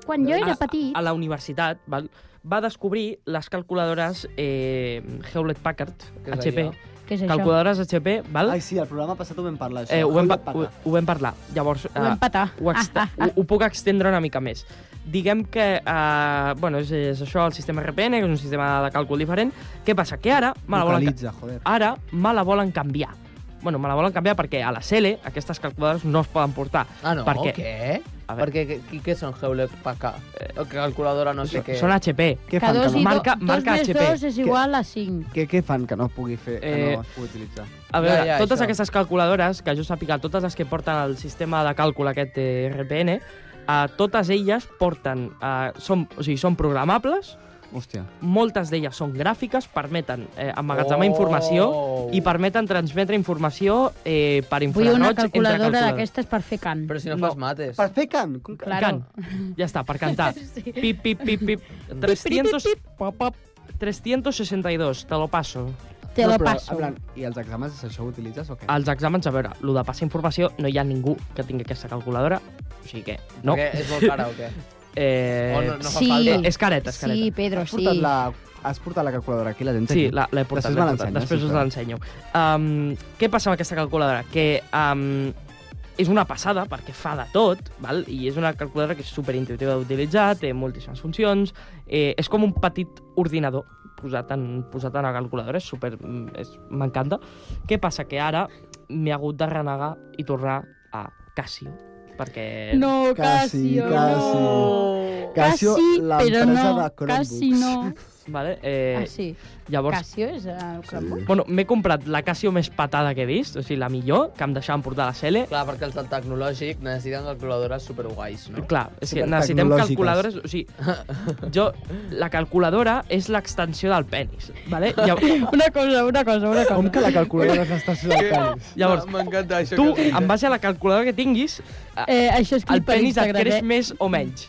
Quan jo era a- petit... a la universitat, val? va descobrir les calculadores eh, Hewlett-Packard, Què és HP, allò? Què és això? calculadores HP, val? Ai, sí, el programa passat ho vam parlar, això. eh, ho, vam, Hewlett pa- ho, Packard. ho vam parlar. Llavors, Ho vam Ah, eh, petar. ho, ext- ho, ho puc extendre una mica més. Diguem que, eh, bueno, és, és això, el sistema RPN, que és un sistema de càlcul diferent. Què passa? Que ara me la volen, Localitza, joder. ca- ara me la volen canviar. Bueno, me la volen canviar perquè a la CL aquestes calculadores no es poden portar. Ah, no, Perquè- què? A veure. Perquè què, què són Hewlett Packard? O que calculadora no sé què. Són HP. Què Que fan dos, que i no, Marca- do, marca dos més HP. dos és igual a cinc. què, què fan que no es pugui fer, que Eh, no es pugui utilitzar? A veure, Ja, ja, ja, ja, totes això. aquestes calculadores, que jo sàpiga, totes les que porten el sistema de càlcul aquest eh, RPN, eh, totes elles porten, eh, són, o sigui, són programables, Hòstia. moltes d'elles són gràfiques, permeten eh, emmagatzemar informació i permeten transmetre informació eh, per Vull infraroig una entre calculadora calculadores. d'aquestes per fer cant. Però si no, No. fas mates. Per fer can? Com que... Claro. Can. Ja està, per cantar. Sí. Pip, pip, pip, pip. 300... Pop, pop. 362, te lo passo. Te No, lo però, passo. en plan, I els exàmens, això ho utilitzes o què? Als exàmens, a veure, el de passar informació, no hi ha ningú que tingui aquesta calculadora, o sigui que no. Perquè és molt cara o què? Eh, O no, no fa sí. falta. És careta, és careta. Sí, Pedro, has sí. portat, la, has portat la calculadora aquí, la gent Sí, aquí? la- l'he portat, Després l'he me portat. l'ensenyes, Després si us us plau. l'ensenyo. Um, què passa amb aquesta calculadora? Que um, és una passada perquè fa de tot, val? i és una calculadora que és superintuitiva d'utilitzar, té moltíssimes funcions, eh, és com un petit ordinador posat en, posat en la calculadora, és super... mm, és- m'encanta. Què passa? Que ara m'he hagut de renegar i tornar a Casio, perquè... No, Casi, Casio, casi. no. Casio, Casi, l'empresa però no. de Chromebooks. Casi no. Vale? Eh, Ah, sí. Llavors, Casio és eh, el Chromebook? Bueno, m'he comprat la Casio més patada que he vist, o sigui, la millor, que em deixaven portar a la CL. Clar, perquè els del tecnològic necessiten calculadores superguais, no? Clar, és que Super necessitem tecnològiques. calculadores, o sigui, jo, la calculadora és l'extensió del penis, vale? Llavors, Una cosa, una cosa, una cosa. Com que la calculadora és l'estació del penis? llavors Ah, M'encanta això. tu, en base a la calculadora que tinguis, Eh, això és el clip per penis et Instagram, creix eh? més o menys,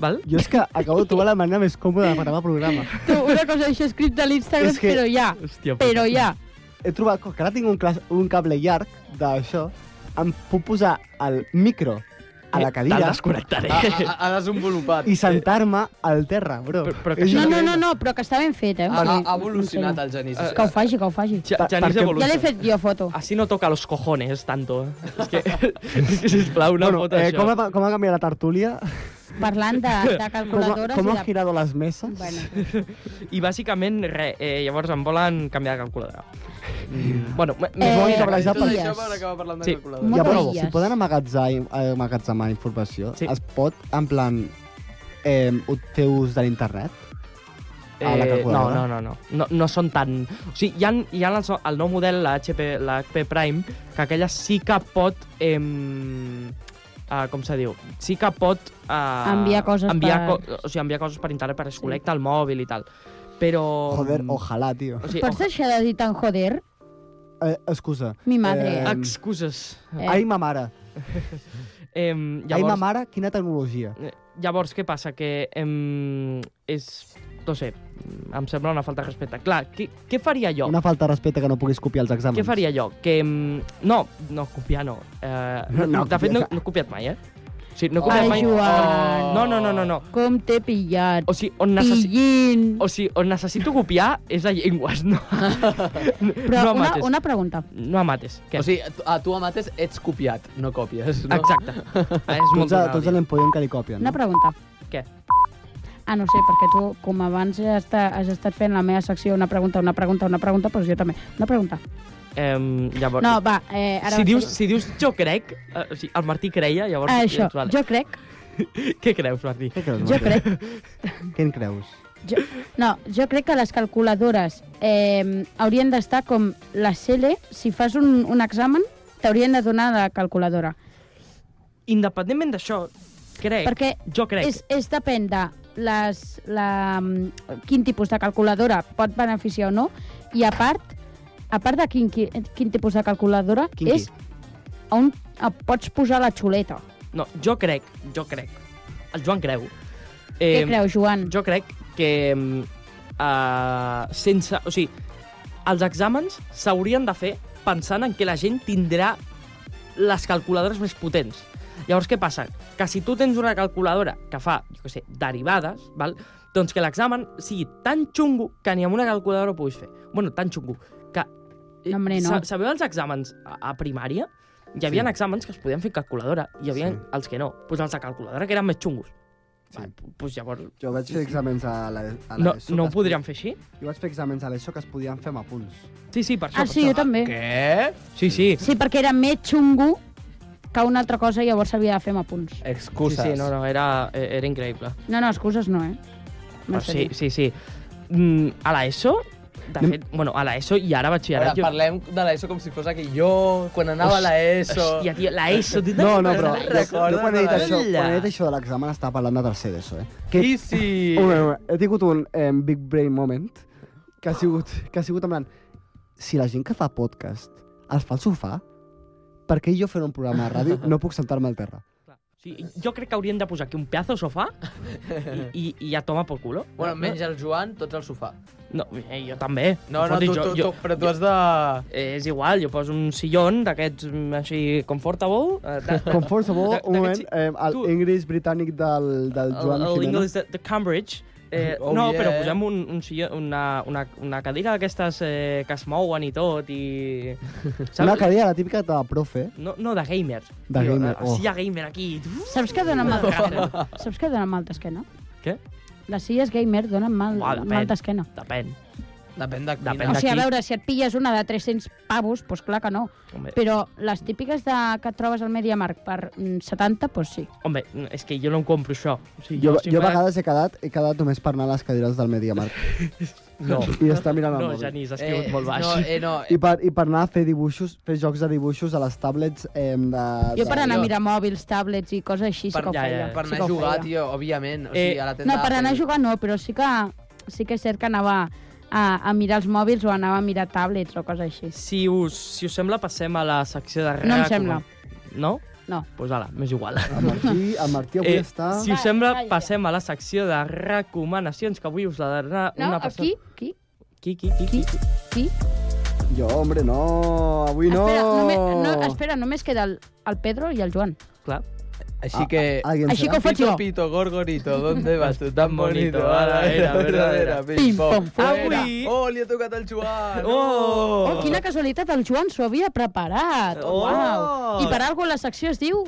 val? Jo és que acabo de trobar la manera més còmoda de gravar programa. Tu, una cosa, això és clip de l'Instagram, És que- però ja. Hòstia, Però ja. He trobat com que ara tinc un, clas, un cable llarg d'això, em puc posar el micro a la Te'l cadira Ah. desconnectaré. Ha, ha, ha desenvolupat. i sentar-me al terra, bro. Però- però que És No, no, increïble. no, no, però que està ben fet, eh? Ha, ha, ha evolucionat el Genís. Eh, Que ho faci, que ho faci. Ja, ja per- n'hi perquè- Ja l'he evolució. fet jo foto. Así no toca los cojones tanto. eh. És que, és que sisplau, una bueno, foto eh, d'això. com, ha, com ha canviat la tertúlia? Parlant de, de Com, ha, calculadores com i han de... girado les meses? Bueno, I bàsicament, re, eh, llavors em volen canviar de calculadora. Mm, bueno, m- Eh, més volen bonita, cabrejar Tot per- això per acabar parlant de Sí. calculadores. Moltes Llavors, illes. si poden amagatzar, amagatzemar informació, Sí. es pot, en plan, eh, fer ús de l'internet? a la eh, no, calculadora. no, no, no, no, no són tan... O sigui, hi ha, hi ha el, so- el nou model, la HP, la HP Prime, que aquella sí que pot... Eh, Uh, com se diu? Sí que pot... Uh, Enviar coses enviar per- Co o sigui, enviar coses per internet, per es connecta al mòbil i tal. Però... mm, Joder, ojalà, tio. O sigui, pots oja- deixar de dir tan joder? Eh, excusa. Mi madre. Eh, Excuses. Eh. Ai, ma mare. Eh, Ai, ma llavors, eh, mare, quina tecnologia. llavors, què passa? Que em, és no sé, mm, em sembla una falta de respecte. Clar, què, què faria jo? Una falta de respecte que no puguis copiar els exàmens. Què faria jo? Que... mm, No, no, copiar no. Eh, no, No, de fet, no, copiar. no he copiat mai, eh? O sigui, no he Ai, copiat mai. Joan. No, no, no, no. no. Com t'he pillat. O sigui, on, necessi... Pillin. o sigui, on necessito copiar és a llengües, no. Però no una, a mates. una pregunta. No a mates. Què? O sigui, tu- a tu a mates ets copiat, no còpies. No? Exacte. és molt Tots, a, tonal, tots a dir. l'Empollon que li copien, Una no? pregunta. Què? Ah, no sé, perquè tu, com abans has, esta- has estat fent la meva secció una pregunta, una pregunta, una pregunta, però jo també. Una pregunta. Em, llavors, No, va, eh, ara... si, dius, si dius jo crec, eh, o sigui, el Martí creia, llavors... Ah, Això, dius, vale. jo crec, Què creus, Martí? Què creus, jo Marta? crec, Què en creus? jo, no, jo crec que les calculadores eh, haurien d'estar com la CL, si fas un, un examen, t'haurien de donar la calculadora. Independentment d'això, crec, Perquè jo crec, És, és depèn de les, la, mm, quin tipus de calculadora pot beneficiar o no, i a part, a part de quin, quin, quin tipus de calculadora, Quin qui? és on eh, pots posar la xuleta. no, jo crec, jo crec, el Joan creu. Què Eh, creus, Joan? Jo crec que uh, sense... O sigui, els exàmens s'haurien de fer pensant en que la gent tindrà les calculadores més potents. Llavors, què passa? Que si tu tens una calculadora que fa, jo què sé, derivades, val? doncs que l'examen sigui tan xungo que ni amb una calculadora ho puguis fer. bueno, tan xungo que... eh, No, hombre, no. Sa- Sabeu els exàmens a, a primària? Hi havia sí. exàmens que es podien fer amb calculadora, i hi havia Sí. sí. els que no. Doncs els de calculadora que eren més xungos. Sí. Sí. Pues llavors, Jo vaig fer exàmens a la- a no, l'ESO. no ho que es- podríem fer així? Jo vaig fer exàmens a l'ESO que es podien fer amb apunts. Sí, sí, per això. Ah, sí, jo també. Què? Sí, sí. Sí, perquè era més xungo que una altra cosa i llavors s'havia de fer amb apunts. Sí, Excuses. sí, no, no, era, eh, era increïble. No, no, excuses no, eh? Però M'has de sí, dir. sí, sí. Mm, a l'ESO, de fet, bueno, a l'ESO i ara Ara, batxillerat... jo- parlem de l'ESO com si fos que jo, quan anava a l'ESO... Hòstia, tio, l'ESO... No, tu te'n no, però recordes? jo, jo quan he dit això, Hola. quan he dit això de l'examen estava parlant de tercer d'ESO, eh? Que, I si... un, moment, un, moment, he tingut un eh, big brain moment que ha sigut, que ha sigut en plan, si la gent que fa podcast els fa al sofà, per què jo fent un programa de ràdio no puc sentar-me al terra? Sí, jo crec que haurien de posar aquí un pedazo de sofà i, i, i a tomar pel culo. Bueno, menys el Joan, tots al sofà. No, eh, jo també. No, no, Fotis, tu, tu, tu, però tu has de... Eh, és igual, jo poso un sillon d'aquests mm, així comfortable. eh, de- de- Comfortable, d'aquests un moment, eh, el tu- English britànic del, del Joan el, el Gimeno. English de, de Cambridge. Eh, Oh, no, yeah. però posem un, un silló, una, una, una cadira d'aquestes eh, que es mouen i tot, i... Una cadira, la típica de profe, No, no, de gamers. De gamer, Oh. oh. Silla gamer aquí. Saps que dona mal d'esquena? Saps que dona mal d'esquena? Què? Les silles gamer donen mal, Uah, depèn. mal d'esquena. Depèn. Depèn de quina. Depèn O de- sigui, a D'aquí. veure, si et pilles una de 300 pavos, doncs clar que no. Home, Però les típiques de, que et trobes al MediaMarkt per mm, 70, doncs sí. home, és que jo no em compro això. O sigui, Jo, jo a simplement- vegades he quedat, he quedat només per anar a les cadires del MediaMarkt No, i estar mirant el no, mòbil. Genís, has caigut molt baix. No, eh, no, I per, I per anar a fer dibuixos, fer jocs de dibuixos a les tablets eh, de... Jo per anar a jo- mirar mòbils, tablets i coses així Per- sí que ho ja, ja, feia. ja. per sí anar que a ho jugar, feia. tio, òbviament. O sigui, Eh, a la tenda No, per d'Apple. anar a jugar no, però sí que, sí que és cert que anava a, a mirar els mòbils o anava a mirar tablets o coses així. Si us, si us sembla, passem a la secció de... No em recomana- sembla. No? No. Doncs pues, ala, m'és igual. El Martí, el Martí avui Eh, eh, està... Si us Va, sembla, calla. passem a la secció de recomanacions, que avui us la darà No, una persona... aquí, aquí, Qui, qui, qui, aquí, qui? aquí. Jo, hombre, no, avui no... Espera, només, no, espera, només queda el, el Pedro i el Joan. Clar. Ah, Així que... Alguien Així serà? que ho faig jo. Pito, pito, gorgorito, ¿dónde vas tú tan bonito? A la vera, verdadera, Pim, pim, pom, pom, fuera. Avui... Oh, li ha tocat el Joan! Oh! Oh, quina casualitat, el Joan s'ho havia preparat. Oh! Uau. I per alguna la secció es diu...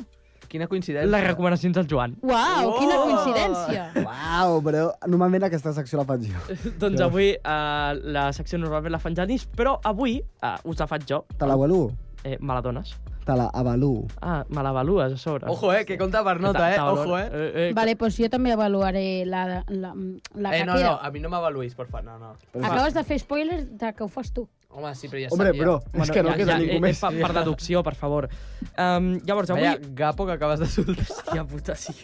Quina coincidència. Les recomanacions del Joan. Uau, Oh! quina coincidència. Uau, però normalment aquesta secció la faig jo. doncs avui eh, la secció normalment la fan Janis, però avui eh, us la faig jo. Te la valu, Eh, me la dones? te la avalu. Ah, me l'avalues a sobre. Ojo, eh, que compta per nota, eh? Ojo, eh? eh, eh Vale, doncs jo també avaluaré la, la, la que Eh, no, queda. no, a mi no m'avaluïs, per favor, no, no. Acabes de fer spoilers de que ho fas tu. Home, sí, però ja Hombre, sabia. bro, és que no ja- queda ja, ningú eh, més. Eh, per, per deducció, per favor. Um, llavors, avui... Vaya gapo que acabes de soltar. Hòstia puta, sí.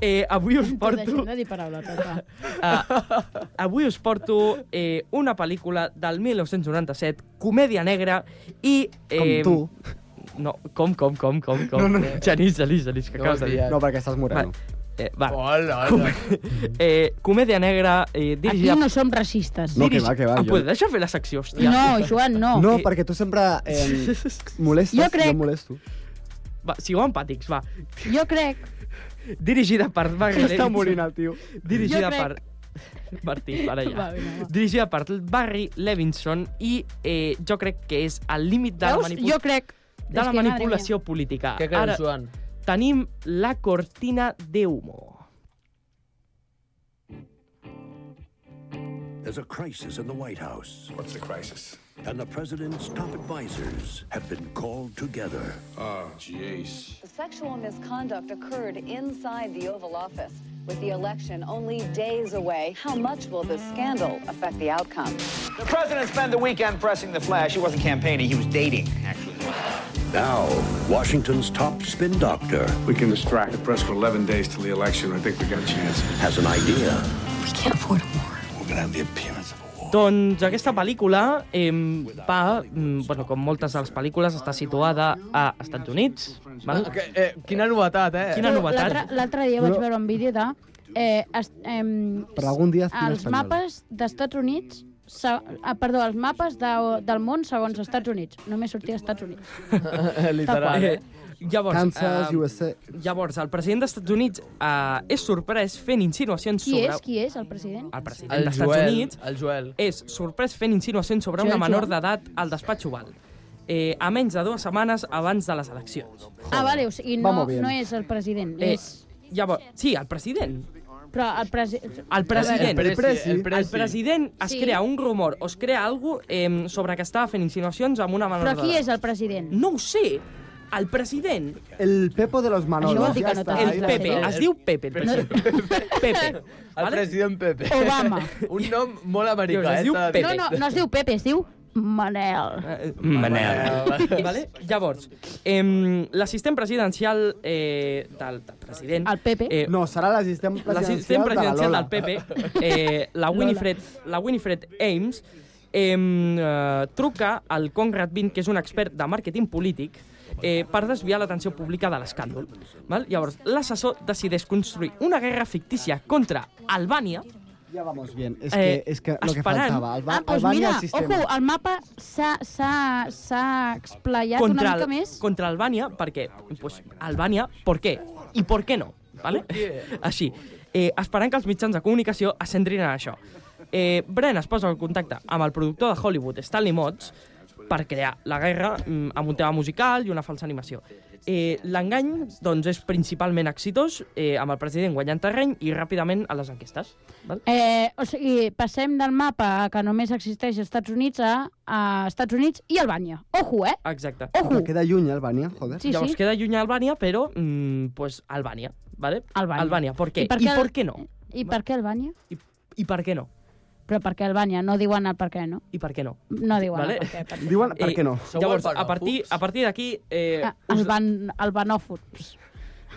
Eh, avui Doncs us porto... Deixem de dir paraules. va. Uh, avui us porto eh, una pel·lícula del 1997, comèdia negra i... eh, Com tu. No, com, com, com, com, com. No, no. Genís, Genís, Genís, que No acabes ho de has dir. dit. No, perquè estàs moreno. Vale. Eh, va. Oh. Hola, Com- eh, comèdia negra, eh, Aquí dirigida... no som racistes. No, que va, que va, Em jo- podeu deixar fer la secció, hòstia? No, Joan, no. No, perquè tu sempre eh, molestes, Jo crec- jo molesto. Va, sigueu empàtics, va. Jo crec... Dirigida per... Està morint el tio. Dirigida Jo crec- per... Martí, para allà. Va, vinga, va. Dirigida per Barry Levinson i eh, jo crec que és al límit de la, Veus? manipul Jo crec... de és la que, madre manipulació política. Què creus, Ara Joan? tenim la cortina de humo. There's a crisis in the White House. What's the crisis? And the president's top advisors have been called together. Oh, jeez. The sexual misconduct occurred inside the Oval Office. With the election only days away, how much will this scandal affect the outcome? The president spent the weekend pressing the flash. He wasn't campaigning, he was dating, actually. Now, Washington's top spin doctor We can distract the press for 11 days till the election. I think we got a chance. has an idea. We can't afford a war. We're gonna have the appearance of a war. Doncs aquesta pel·lícula eh, va, mm, bueno, com moltes de les pel·lícules, està situada a Estats Units. Val? Que, eh, quina novetat, eh? Quina Però novetat? l'altre- L'altre dia vaig veure un vídeo de... Eh, es, em, Per algun dia estic els espanyol. mapes d'Estats Units se, ah, perdó, els mapes de, del món segons Estats Units. Només sortia Estats Units. Literal. Eh, llavors, Kansas, um, eh, USA... llavors, el president dels Estats Units eh, és sorprès fent insinuacions Qui sobre... és? Qui és el president? El president El dels Estats Joel, Units el Joel. és sorprès fent insinuacions sobre Joel, una menor Joel. d'edat al despatx oval. Eh, a menys de dues setmanes abans de les eleccions. Ah, vale, o sigui, no, Vamos bien. no és el president. Eh, És, llavors, sí, el president. però el president... El president. El presi, el El presi. president es Sí. crea un rumor o es crea algú eh, sobre que estava fent insinuacions amb una menor Però qui d'edat. és el president? No ho sé. El president, El Pepo de los Manolos. vol dir ja que no Ah, està. t'agrada. el clar, Pepe, clar. es diu Pepe, el president. Pepe. El Vale? president Mm. Pepe. Obama. Un nom molt americà, Dius, es eh? diu t'ha de dir. No, no, no es diu Pepe, es diu Manel. Eh, Manel. Vale? Llavors, eh, l'assistent presidencial eh, del, del president... El Pepe. Eh, No, serà l'assistent presidencial, l'assistent presidencial de la del Lola. PP, eh, la, Winifred, la Winifred Ames, eh, eh, truca al Conrad Vint, que és un expert de màrqueting polític, eh, per desviar l'atenció pública de l'escàndol. Val? Llavors, l'assessor decideix construir una guerra fictícia contra Albània, Ja vamos bien. És Eh, que, és que lo que esperant. faltava. El, va, Ah, doncs el, mira, el sistema. ojo, el mapa s'ha- s'ha s'ha explayat contra, una mica el- més. contra Albània, perquè, pues, Albània, ¿por qué? I ¿por qué no? Vale? Així, eh, esperant que els mitjans de comunicació ascendrin a això. Eh, Bren es posa en contacte amb el productor de Hollywood, Stanley Motts, per crear la guerra mm, amb un tema musical i una falsa animació. Eh, L'engany doncs, és principalment exitós, eh, amb el president guanyant terreny i ràpidament a les enquestes. Val? Eh, o sigui, passem del mapa que només existeix als Estats Units a, a Estats Units i Albània. Ojo, eh? Exacte. Ojo. Però queda lluny, Albània, joder. Sí, Llavors sí. queda lluny a Albània, però mm, pues, Albània. Vale? Albània. Albània, per què? I per què, I per què no? I per què Albània? I, I per què no? Però per què Albània? No diuen el per què, no? I per què no? No diuen Vale. el per què. Per què. Diuen, per què no? Sou Llavors, a albanòfobs? partir, a partir d'aquí... Eh, Ah, us, Alban, albanòfobs.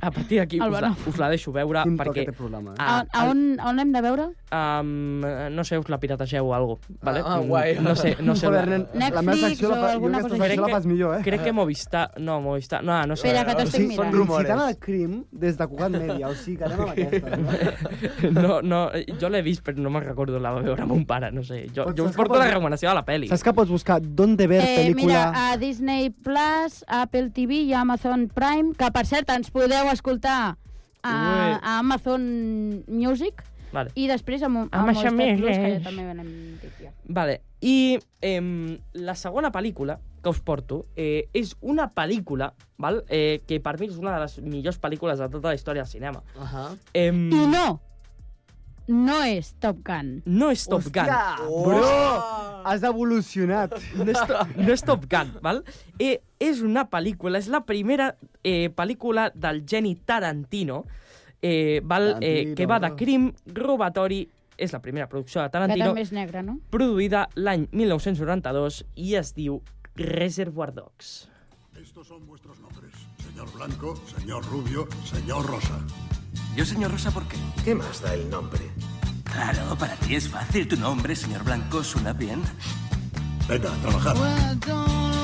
a partir d'aquí us, la- albanòfobs. us la deixo veure Quin toque perquè... té programa, eh? A, Ah, a, on, a on l'hem de veure? um, no sé, us la pirategeu o alguna cosa. Vale? Ah, ah, guai. No sé, no sé. Joder, nen, la meva Netflix secció la, o fa, jo alguna aquesta cosa així. secció la fas millor, eh? Crec que Movistar... No, Movistar... No, no sé. Espera, que t'ho estic són mirant. rumors. incitant al crim des de Cugat Mèdia, o sigui que anem amb aquesta. No, no, jo l'he vist, però no me'n recordo. La va veure amb un pare, no sé. Jo, Pots- jo us saps porto que la pot- recomanació de la pel·li. Saps que pots buscar Donde Ver, Eh, mira, pel·lícula... a Disney Plus, a Apple TV i a Amazon Prime, que per cert ens podeu escoltar a, Ué. a Amazon Music Vale. i després a, Mo- a Amazon Movistar Plus, que Music. ja també venem dit ja. Vale. I eh, la segona pel·lícula que us porto eh, és una pel·lícula val? Eh, que per mi és una de les millors pel·lícules de tota la història del cinema. Ahà. Eh, I no, no és Top Gun. no és Top Gun. Bro, has evolucionat. No és, to no és Top Gun, val? Eh, és una pel·lícula, és la primera eh, pel·lícula del geni Tarantino, eh, val? Eh, que va de crim, robatori, és la primera producció de Que Tarantino, també és negre, no? produïda l'any 1992 i es diu Reservoir Dogs. Estos son vuestros nombres. Señor Blanco, señor Rubio, señor Rosa. Yo, señor Rosa, ¿por qué? ¿Qué más da el nombre? Claro, para ti es fácil. Tu nombre, señor Blanco, suena bien. Venga, a trabajar.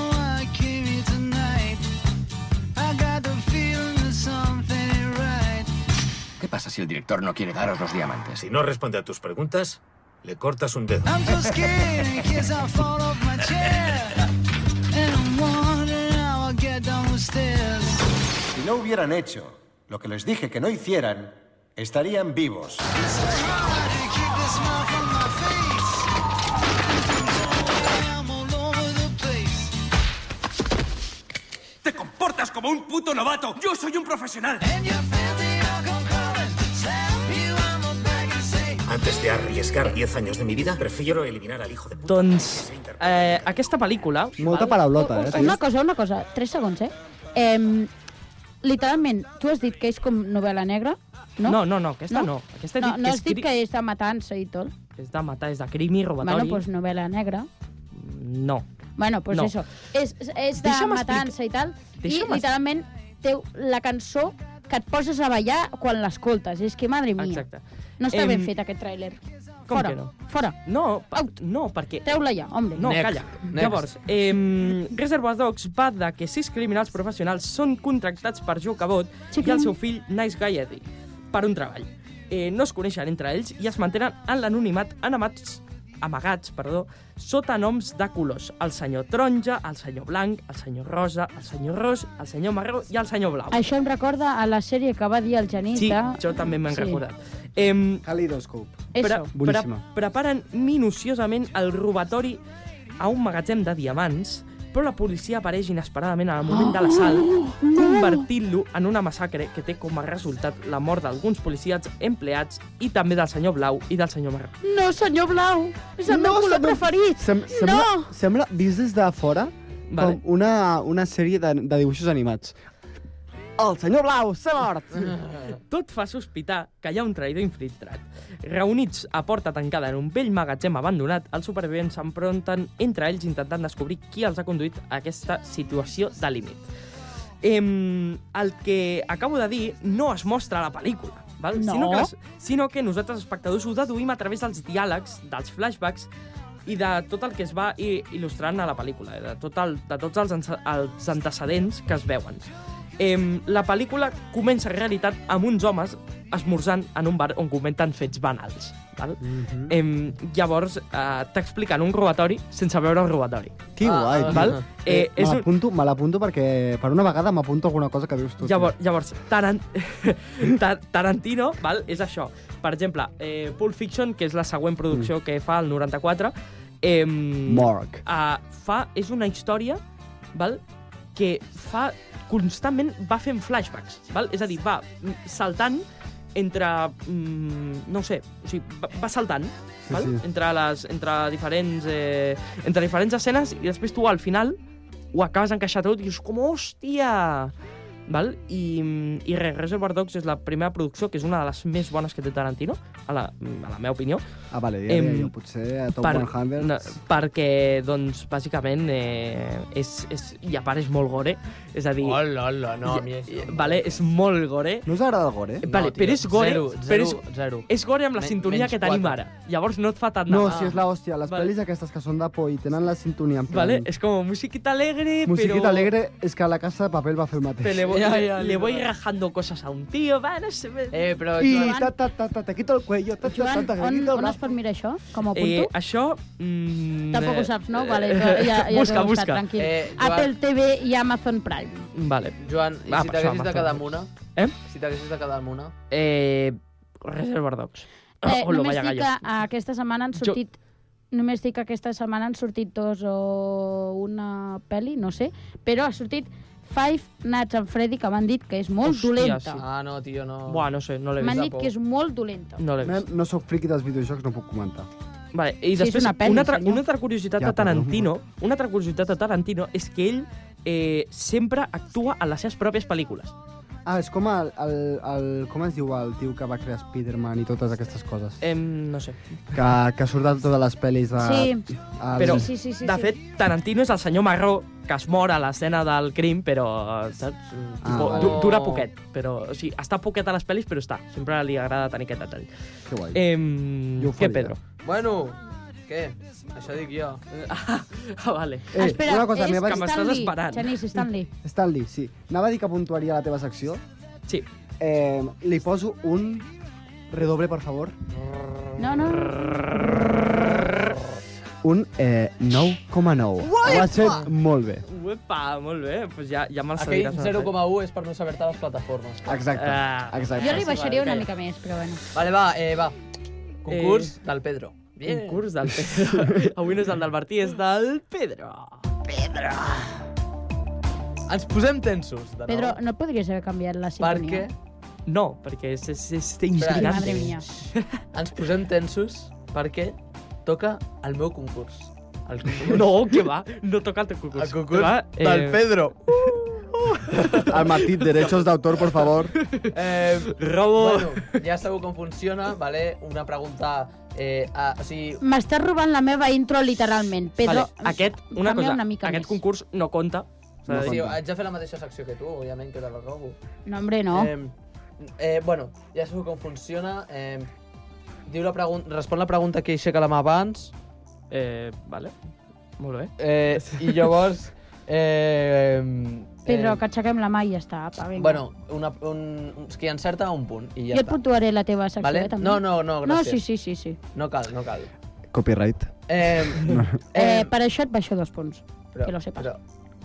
pasa si el director no quiere daros los diamantes? Si no responde a tus preguntas, le cortas un dedo. I'm so scared in case I fall off my chair. And I'm wondering how I'll get down the stairs. Si no hubieran hecho lo que les dije que no hicieran, estarían vivos. Hard to keep the smile from my face. I'm all over the place. ¡Te comportas como un puto novato! ¡Yo soy un profesional! Antes de arriesgar 10 años de mi vida, prefiero eliminar al hijo de puta. Doncs eh, aquesta pel·lícula... Molta paraulota, eh? Una cosa, una cosa. Tres segons, eh? eh literalment, tu has dit que és com novel·la negra, no? No, no, no, aquesta no. Aquesta he no, dit no que has és dit cri- que és de matança i tot. És de matar, és de crim i robatori. Bueno, doncs pues novel·la negra. No. Bueno, pues No. eso. És, és de Deixa'm matança i tal. I Deixa'm explicar- literalment té la cançó que et poses a ballar quan l'escoltes. És que, madre mia. Exacte. No està Em, ben fet aquest tràiler. Com Fora. que no? Fora. No, pa, no, perquè... Treu-la ja, home. No, calla. Llavors, eh, Reservoir Dogs va de que sis criminals professionals són contractats per Joe Cabot i el seu fill Nice Guy Eddie per un treball. Eh, no es coneixen entre ells i es mantenen en l'anonimat anamats amagats, perdó, sota noms de colors. El senyor taronja, el senyor blanc, el senyor rosa, el senyor ros, el senyor marró i el senyor blau. Això em recorda a la sèrie que va dir el Genís Sí, de... jo també m'he Sí. recordat. Em, Kaleidoscope. Eso. Boníssima. preparen minuciosament el robatori a un magatzem de diamants, però la policia apareix inesperadament al moment de l'assalt, convertint-lo en una massacre que té com a resultat la mort d'alguns policies empleats i també del senyor Blau i del senyor Marró. No, senyor Blau! És el meu color preferit! Sem sembla, No! sembla, vist des de fora, Vale. com una, una sèrie de, de dibuixos animats. El senyor Blau s'ha mort! Tot fa sospitar que hi ha un traïdor infiltrat. Reunits a porta tancada en un vell magatzem abandonat, els supervivents s'enfronten entre ells intentant descobrir qui els ha conduït a aquesta situació de límit. Em, el que acabo de dir no es mostra a la pel·lícula, val? No. Sinó, que les, sinó que nosaltres, espectadors, ho deduïm a través dels diàlegs, dels flashbacks i de tot el que es va i- il·lustrant a la pel·lícula, eh, de, tot el, de tots els, ance- els antecedents que es veuen. Em, la pel·lícula comença en realitat amb uns homes esmorzant en un bar on comenten fets banals. Val? em, llavors, eh, t'expliquen un robatori sense veure el robatori. Que guai, tio. Val? Eh, me és un, l'apunto me l'apunto perquè per una vegada m'apunto alguna cosa que dius tu. tio. Llavors, llavors Taran... Ta- Tarantino val, és això. Per exemple, eh, Pulp Fiction, que és la següent producció que fa el 94, eh, Morg. eh, fa, és una història val, que fa constantment va fent flashbacks. Val? És a dir, va mm, saltant entre... Mm, no ho sé, o sigui, va, va saltant val? sí. Entre, les, entre, diferents, eh, entre diferents escenes i després tu al final ho acabes d'encaixar tot i dius com, hòstia! Val? I, i res, Reservoir Dogs és la primera producció, que és una de les més bones que té Tarantino, a la, a la meva opinió. Ah, vale, ja, ja, Em, ja, potser a Top 100. no, perquè, doncs, bàsicament, eh, és, és, i a part és molt gore, és a dir... Hola, hola, no, a mi ja- això- Vale, és molt gore. No us agrada el gore? Vale, No, tio, però és gore, zero, però zero, és, zero. és gore amb la Men- sintonia menys que tenim quatre. ara. Llavors no et fa tant de No, mal. Ah. si és la hòstia. Les pel·lis aquestes que són de por i tenen la sintonia en plan... Vale, és com musiquita alegre, Musiquita però... alegre és que la Casa de Papel va fer el mateix. Pero le voy, le voy rajando cosas a un tío, va, no sé... Eh, però... I ta, ta, ta, ta, te quito el cuello, ta, ta, ta, Joan, ta, te on, quito el on es brazo. pot mirar això? Com a Eh, punto? això... Mm, Tampoc ho eh, saps, no? Vale, ja, ja, ja busca, t'he buscat, busca. Tranquil. Eh, Joan- Apple TV i Amazon Prime. Vale. Joan, i Va, si per això, t'haguessis de Amazon. quedar amb una? Eh? Si t'haguessis de quedar amb una? Eh, Reservoir Dogs. Eh, Hola, només vaya dic gallo. que aquesta setmana han sortit... Només dic que aquesta setmana han sortit dos o una pel·li, no sé, però ha sortit Five Nights at Freddy, que m'han dit que és molt Hòstia, dolenta. sí. Ah, no, tio, no... Buah, no sé, no l'he M'han vist. dit que és molt dolenta. No l'he Men, vist. no sóc friqui dels videojocs, no puc comentar. Vale, I Sí, després, és una pel·li, una, altra, senyor. una altra curiositat Ja, de Tarantino, una altra curiositat de Tarantino és que ell eh, sempre actua en les seves pròpies pel·lícules. Ah, és com el, el, el... Com es diu el tio que va crear Spider-Man i totes aquestes coses? Eh, no sé. Que, que surt de totes les pel·lis de... Ah, Sí. el- Però, Sí, sí, sí, sí, de sí. fet, Tarantino és el senyor marró que es mor a l'escena del crim, però saps? Tipo, vale. du dura poquet. Però, o sigui, està poquet a les pel·lis, però està. Sempre li agrada tenir aquest detall. Que guai. Eh, què, faria. Pedro? Bueno, què? Això dic jo. Ah, vale. Eh, Espera, una cosa, és m'he vaig- que m'estàs esperant. Genís, Stanley. Stanley, sí. Anava a dir que puntuaria la teva secció. Sí. Eh, li poso un redoble, per favor. No, no. Un eh, 9,9. Uepa! Ho has fet molt bé. Uepa, molt bé, doncs ja, ja me'l Aquell serviràs. 0,1 és per no saber-te les plataformes. Exacte, Ah. exacte. Jo li baixaria una mica més, però bueno. Vale, va, eh, va. Concurs del Pedro. Bien. Concurs del Pedro. Avui no és el del Martí, és del Pedro. Pedro. Ens posem tensos, de nou. Pedro, no et podries haver canviat la sintonia? Perquè... No, perquè és, és, és Espera, intrigant. Madre mía. Ens posem tensos perquè toca el meu concurs. El concurs. No, que va, no toca el teu concurs. El concurs Va, eh, del Pedro. Al Martí, derechos d'autor, por favor. Eh, Robo. Bueno, ja sabeu com funciona, vale? Una pregunta... Eh, a, o sigui, M'estàs robant la meva intro literalment. Pedro, Vale, aquest, una canvia cosa, una mica aquest més. concurs no compta. No, sí, dir- haig de fer la mateixa secció que tu, òbviament, que te la robo. No, hombre, no. Eh, eh, bueno, ja sabeu com funciona. Eh, diu la pregun- respon la pregunta que aixeca la mà abans Eh, vale, molt bé. eh, i llavors... Eh, Pedro, que aixequem la mà i ja està. Apa, vinga. Bueno, una, un, un, és que encerta un punt i ja jo et està. puntuaré la teva secció, Vale? eh, també. No, no, no, No, gràcies. sí, sí, sí. sí. No cal, no cal. Copyright. Eh, Eh, per això et baixo dos punts. Però- que lo sepas. Però...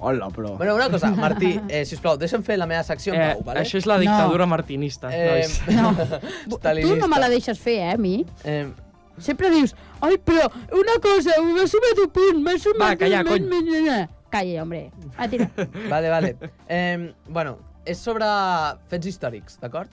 Hola, però... Bueno, una cosa, Martí, eh, sisplau, deixa'm fer la meva secció en Eh, pau, vale? Això és la dictadura martinista, Eh, nois. no. Tu no me la deixes fer, eh, a mi? Eh, Sempre dius, ai, però una cosa, m'ha sumat un punt, m'ha sumat Va, calla, un punt... Calla, hombre. Ah, A tirar. Vale, vale. Eh, bueno, és sobre fets històrics, d'acord?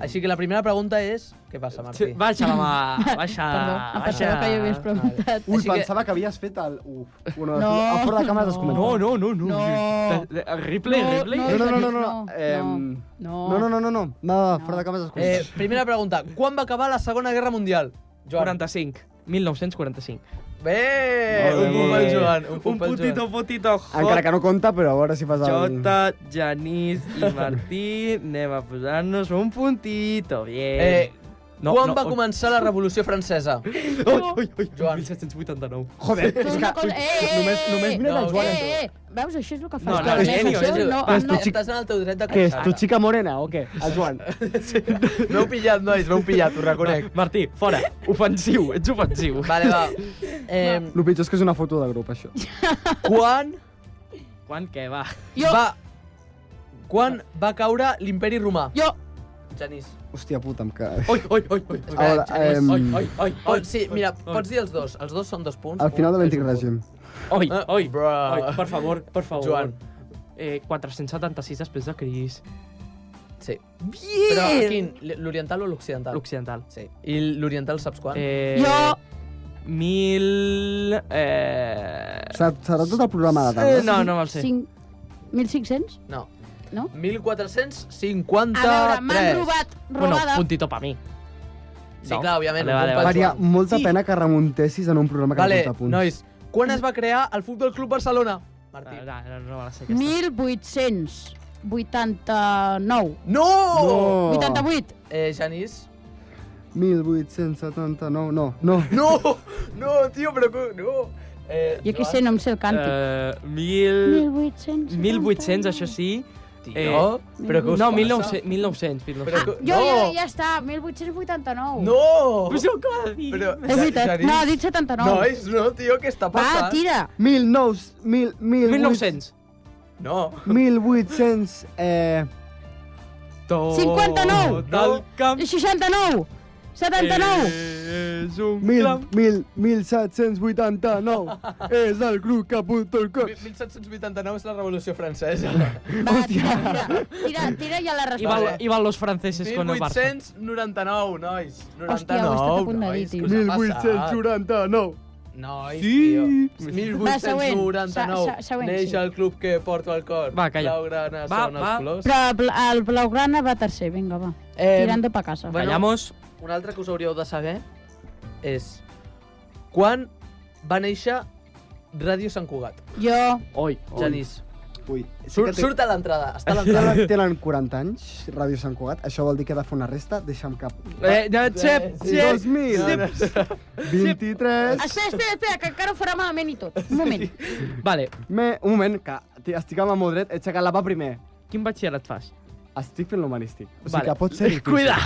Així que la primera pregunta és... Què passa, Martí? Baixa la mà, baixa, Perdó, em pensava baixa. que hi havies preguntat. Ui, Així que- pensava que havies fet el... Uf, una... No, a fora de càmeres no. es comenta. No, no, no, no. No. De- de- Ripley, No, Ripley. no, no, no, no, no. Eh, no. No, no, no, no, no. No, fora de càmeres es comenta. Eh, primera pregunta. Quan va acabar la Segona Guerra Mundial? Joan. 45. 1945. Bé! Molt Eh, un punt pel bé, molt bé. Joan. Un punt Un pel putito, Joan. putito. Hot. Eh, Encara que no compta, però a veure si fas el... Jota, Janís i Martí, anem a posar-nos un puntito, bien. Eh, No, Quan no, va on- començar la Revolució Francesa? Ui, ui, ui, Joan. 1789. Joder, Però una cosa... Eh, eh, només- eh, només eh, mira eh, el Joan. Eh, eh, veus, això és el que fa. No, no, és genio, és genio. no, Vas, tu, no, xic. Estàs en el teu dret de Què és, tu queixar-te. xica morena o què? El Joan. M'heu pillat, nois, m'heu pillat, ho reconec. Martí, fora. Ofensiu, ets ofensiu. Vale, va. Eh, El pitjor és que és una foto de grup, això. quan Quan què, va? jo. va... Quan va caure l'imperi romà? Jo. Genís. Hòstia puta, em ca... Oi, oi, oi, oi. Espera, Ara, Genís. em, Oi, oi, oi, oi, oi. Sí, oi, mira, oi. pots dir els dos. Els dos són dos punts. Al final de Un l'antic és un règim. Oi, Eh, oi, bruh. oi, per favor, per favor. Joan. Eh, 476 després de Cris. punt. Sí. Bien! Però quin? L'oriental o l'occidental? L'occidental. Sí. I l'oriental saps quan? Eh, Mil... Eh... Serà, serà tot el programa de Eh, tant. no, no me'l sé. Cinc- 1.500? No. No? 1453. A veure, m'han robat, Bueno, robada. puntito pa mi. Sí, clar, òbviament, Vale, vale, un punt per vale. Faria Joan. molta pena que remuntessis en un programa que Vale, no compta punts. nois, quan es va crear el Futbol Club Barcelona? Martí. No, no, no me la sé aquesta. 1889. No! Oh. No! 88. Eh, Janís? 1879, no, no. No! No, tio, però... co- No! Eh, Jo què Joan? sé, no em sé el càntic. Eh, mil... 1800. 1800, això sí. Eh, Tio, però què us No, passa? 1900, 1900. 1900. Però que- Jo, no! jo, ja està, 1889. No! Pues jo què va dir? Però, És veritat. Janís- No, ha dit 79. Nois, no, tio, què està Va, passant? tira. 1900, mil, mil, 1900. No. 1800, eh... Tot 59. el camp 69. 79. Eh. és un Mil, clam. mil, 1789 és el grup que apunta el cor. 1789 és la Revolució Francesa. Va, tira, tira, tira, tira ja la I resposta. van, I van los franceses con el Barça. 1899, nois. 99, Hòstia, ho he estat a punt de dir, nois. tio. què us ha passat? 1889. Nois, Sí. tio. Va, següent. 1899. Se- se- següent, Neix sí. el club que porto al cor. Va, calla. Blaugrana Va, són va. els colors. Però bl- el Blaugrana va tercer, vinga, va. Eh, Tirando pa casa. bueno, Callamos. Un altre que us hauríeu de saber és... Quan va néixer Ràdio Sant Cugat? Jo, Oi, oi. Genís, Ui, sí surt, que té- surt a l'entrada. Està a l'entrada. Tenen, tenen 40 anys, Ràdio Sant Cugat. Això vol dir que he de fer una resta? Deixa'm cap. Eh, no, xep, xep. 2000, 23... Espera, espera, espera, que encara ho farà malament i tot. Un moment. Vale, Me, un moment, que t- estic amb el meu dret, he aixecat la mà primer. quin batxillerat fas? Estic fent l'humanístic. O sigui Vale. que pot ser Eh, difícil. Cuida!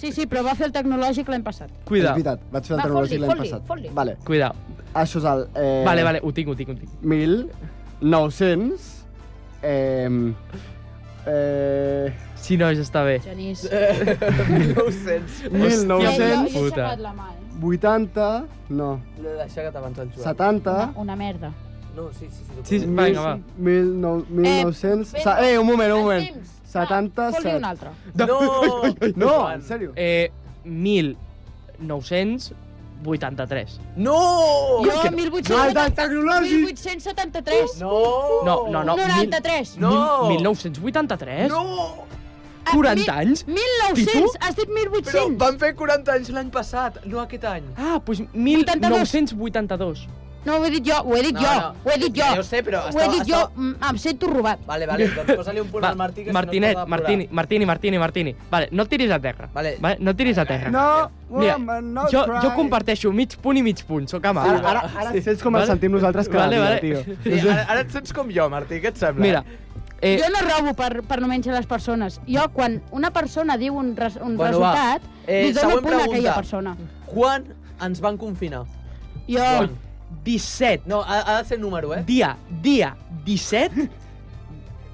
Sí, sí, però va fer el tecnològic l'any passat. És veritat, vaig fer Va, el tecnològic fot-li, l'any fot-li, passat. fot-li. Vale. Cuidao. Això és el... Eh, Vale, vale, ho tinc, ho tinc, ho tinc. 1.900... Eh, eh... Sí, no, ja està bé. Genís. Eh, 1900. 1900. Jo, jo he aixecat la mà, eh? 80, no, L'he deixat abans el Joan. 70... Una merda. No, sí, sí. sí, Sí, sí vinga, va. 1900... Eh, eh, un moment, un moment. 77. Fot-li un altre. No! No, en sèrio. Eh, 1983. No! Jo, Que- 1870... del tecnològic! 1873. No! No, no, no. 93. Mil, no! 1983? No! Ah, 40 anys? 1900, has dit 1800. Però van fer 40 anys l'any passat, no aquest any. Ah, doncs 1982. No, ho he dit jo, ho he dit No, jo, no. ho he dit jo. Ja ho sé, però Ho he estava- dit jo, estava- mm, em sento robat. Vale, vale, doncs posa-li un punt al Martí, que si Martinet, no es pot Martini, Martini, Martini, Martini. Vale, no et tiris a terra. Vale. vale no et tiris a terra. No, Mira, woman, no jo, cry. jo comparteixo mig punt i mig punt, sóc amable. Ara- ara- ara et sents com ens sentim nosaltres cada dia, tio. Sí, ara, ara et sents com jo, Martí, què et sembla? Mira, Eh... Jo no robo per, per no menjar les persones. Jo, quan una persona diu un, res, un Bueno, va. resultat, Eh, li dono següent punt a aquella pregunta. persona. Quan ens van confinar? Jo... 17. No, ha, ha de ser número, eh? Dia, dia 17,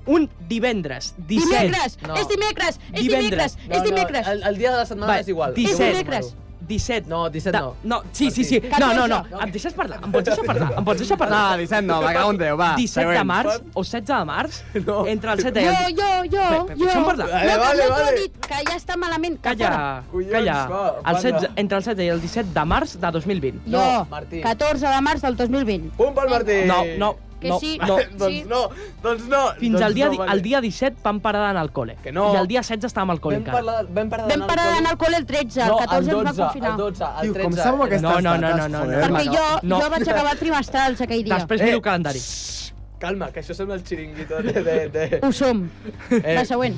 un divendres, 17. Dimecres! No. És dimecres! És dimecres! és dimecres! No, el, el dia de la setmana Vale, és igual. 17. És número. 17. No, 17 Da- no. No, sí, sí, sí. No, no, no. Em deixes parlar? Em pots deixar parlar? Em pots deixar parlar? No, 17 no, va, cago en Déu, va, 17 de següent. març o 16 de març, entre el 7 i Jo, el... jo, jo, Bé, bé, jo. deixa'm parlar. No, Vale, que vale, no t'ho he vale. dit, que ja està malament, que Calla, fora. calla. va, El parla. 16, entre el 7 i el 17 de març de 2020. Jo, 14 de març del 2020. Pum pel Martí! No, no, Que no, sí, no. sí. Doncs no, doncs no. Fins doncs al dia, no, di- vale. el dia 17 vam parar d'anar al col·le. Que no. I el dia 16 estàvem al col·le Vam encara. parlar, vam parlar Vam parar d'anar al col·le el 13, el No, el 14 ens 12, va confinar. el 12, el Tio, com 13. sabo aquestes No, no, no, dates, no, no, joder, no. Perquè jo, No. jo vaig acabar trimestrals aquell dia. Després miro el calendari. Calma, que això sembla el xiringuito de... de, de... Ho som. La següent.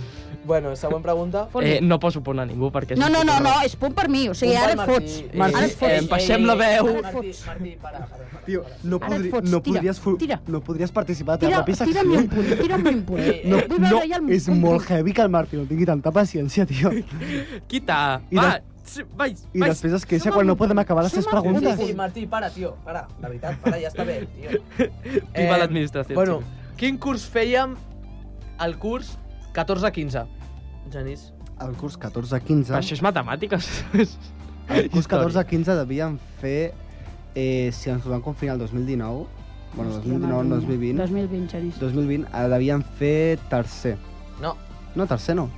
Bueno, següent pregunta. Eh, no poso punt a ningú perquè... és No, no, un no, puto no, error. és punt per mi. O sigui, ara et fots. eh, Ara et fots. Ara et Martí, fots. Martí, para, para. Tio, no, Ara et podri, fots, no, tira, podries, fu- no podries participar a la Tira- teva pròpia secció. tira'm un punt, tira'm un punt. No, Vull veure no, ja el- és un molt punt. heavy que el Martí no tingui tanta paciència, tio. Quita, I va, des- sí, vaig, I vaig. després es queixa quan no podem acabar les seves Sí, preguntes. sí, Martí, para, tio, para. La veritat, para, ja està bé, tio. Viva l'administració, Bueno, tio. quin curs fèiem el curs 14-15? Genís. El curs 14-15... Però això és matemàtiques. El curs Història. 14-15 devíem fer... Eh, si ens van confinar el 2019... Bueno, Hòstia, 2019, madre 2020... mia. 2020, Genís. 2020, eh, devíem fer tercer. No. No, tercer no.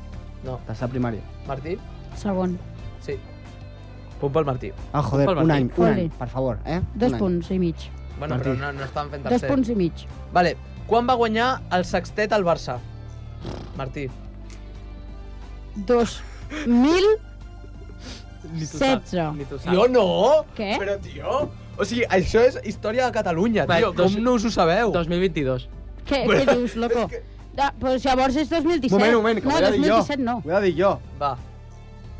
No. Tercer de primària. Martí? Segon. Sí. Punt pel Martí. Ah, joder, Pel un Martí. any, un Joder. any, per favor, eh? Dos Un any. punts i mig. Bueno, Martí. però no, no estan fent Dos tercer. punts i mig. Vale, quan va guanyar el sextet al Barça? Martí. Dos mil... Ni tu saps, 16. Ni tu saps. Jo no! Què? Però, tio... O sigui, això és història de Catalunya, Va, tio. dos- Com no us ho sabeu? 2022. Què, què dius, loco? Ah, doncs llavors és 2017. Moment, moment, que no, ho he de dir jo. 2017 no. Ho he de dir jo. Va.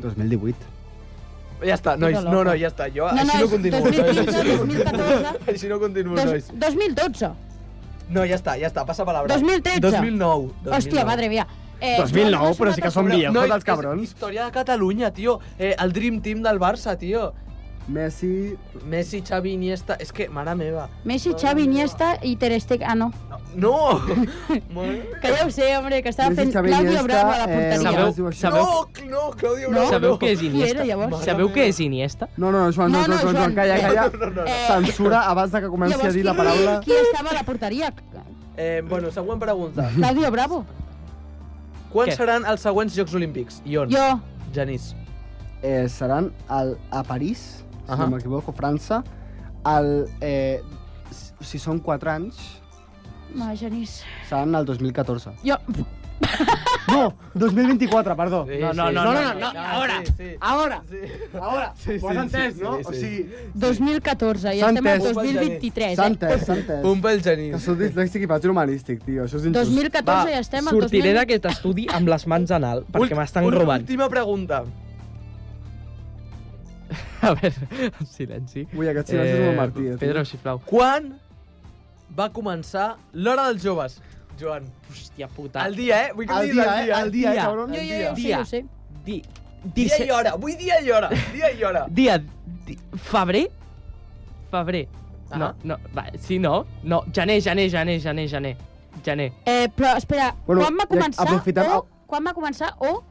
2018. Ja està, nois. Puta No, loca. no, ja està. Jo No, no, així no és continuo. 2015, nois. 2014. Així no continuo, Dos, nois. 2012. No, ja està, ja està. Passa palabra. 2013. 2009. 2009. Hòstia, madre mía. Eh, no, no, no, no, Nois, els és cabrons. Història de Catalunya, tio. Eh, el Dream Team del Barça, tio. Messi... Messi, Xavi, Iniesta... És que, mare meva. Messi, Xavi, Iniesta i Ter Stegen. Ah, no. No! Que ja ho sé, hombre, que estava Messi, fent Xavi, Claudio Iniesta, Bravo a la eh, porteria. Sabeu- Sabeu, sabeu- sabeu, No, Claudio No? sabeu què és Qui Iniesta? era, llavors? Sabeu què és Iniesta? No, no, Joan, No, no, no, no, Joan, Joan, Joan. calla, calla. No, no, no, no. Censura abans de que comenci a dir la paraula. Qui, qui estava a la porteria? Eh, bueno, següent pregunta. Claudio Bravo. Quan Què? seran els següents Jocs Olímpics? I on? Jo. Genís. Eh, seran al, a París, si Ahà. no m'equivoco, França. El, eh, si- si són 4 anys, Ma, Genís. seran el 2014. Jo... No, 2024, perdó. No, no, no, no, no, no, ahora, ahora, ahora. Sí, Ho has entès, no? O sigui, 2014, i S'ha estem al entès. 2023, S'ha eh? entès, s'ha entès. Un pel genís. Que sóc dislèxic i faig humanístic, tio. Això és injust. 2014 ja estem al Sortiré 2000. d'aquest estudi amb les mans en alt, perquè m'estan Una robant. última pregunta. A veure, en silenci. Ui, aquest eh, Eh, eh? silenci és molt Martí, eh, tio. Pedro, sisplau. Quan va començar l'Hora dels Joves? Joan. Hòstia puta. El dia, eh? Vull que El em diguis dia, eh? El dia, cabron. El Jo, jo, dia. jo, ho sé, Dia. ho sé. Di, Dia i hora, vull dia i hora, dia i hora. Dia... Di, febrer? Febrer. No, no, va, sí, no, no, gener, gener, gener, gener, gener, gener. Eh, però, espera, Bueno, bueno, quan va ja començar aprofitem o... el- Quan va començar o...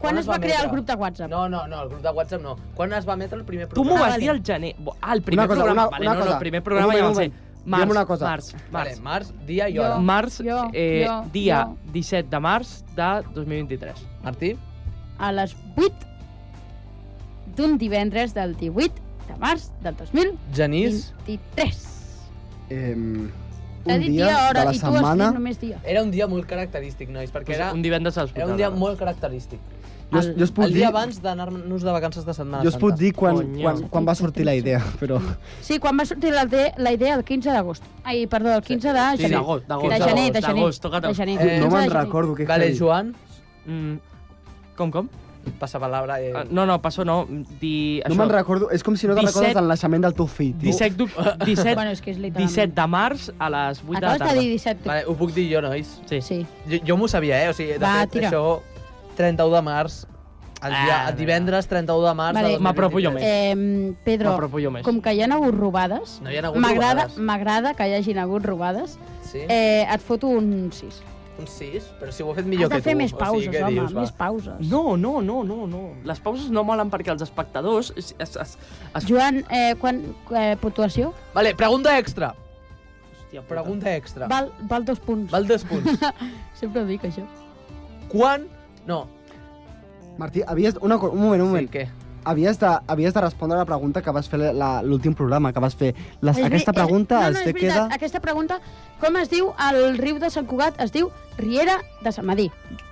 Quan, es va crear el grup? de WhatsApp? No, no, no, el grup de WhatsApp no. Quan es va emetre el primer Tu programa? m'ho vas dir al gener. Bo, Ah, el primer cosa, programa, una- vale, una no, no, cosa. el primer Un programa moment, ja un va ser. moment. Digue'm Març, una cosa. març, març. Vale, març, dia i hora. Març, eh, jo, dia jo. 17 de març de 2023. Martí? A les 8 d'un divendres del 18 de març del 2023. Genís? Eh, T'ha dit dia, hora, i tu has dit només dia. Era un dia molt característic, nois, perquè Pues era... Doncs un divendres als Era un dia molt característic. Jo us- jo us puc el dia dir- abans d'anar-nos de vacances de Setmana Jo us puc Santa. dir quan, quan, quan va sortir la idea, però... Sí, quan va sortir la, de, la idea el 15 d'agost. Ai, perdó, el 15 de sí, gener. d'agost, d'agost, De gener, de d'agost, gener. d'agost, toca de gener. Eh, no me'n recordo, que Vale, heavy. Joan? Mm, com, com? Ah, Passa palabra. Eh... no, no, passo, no. Di, No me'n recordo, és com si no te 17 recordes del naixement del teu fill, tio. 17 d'oc- 17, Bueno, és que és literalment. 17 de març a les 8 de la Acabes de tarda. dir 17. Vale, ho puc dir jo, nois? Sí. sí. Jo, jo m'ho sabia, eh? O sigui, de Va, fet, tira. això... 31 de març, el, dia, Ah, el divendres 31 de març... Vale. de M'apropo 2023. Eh, Pedro, M'apropo jo més. com que hi ha hagut robades, No hi ha hagut Eh, m'agrada robades. m'agrada que hi hagin hagut robades, Sí? eh, et foto un 6. Un 6? Però si ho he fet millor Has de que tu. fer més pauses, què home, va? més pauses. No, no, no, no, no. Les pauses no molen perquè els espectadors... Es, es, es, es... Joan, eh, quan, eh, puntuació? Vale, pregunta extra. Hòstia, puta. Pregunta extra. Val, val dos punts. Val dos punts. Sempre ho dic, això. Quan... No. Martí, havies... Una, co- un moment, un Sí, moment. què? Havies de, havies de respondre a la pregunta que vas fer la- la- l'últim programa, que vas fer. Les, És veri- aquesta pregunta és, no, no, es és te veritat, queda... Aquesta pregunta, com es diu el riu de Sant Cugat? Es diu Riera de Sant Madí.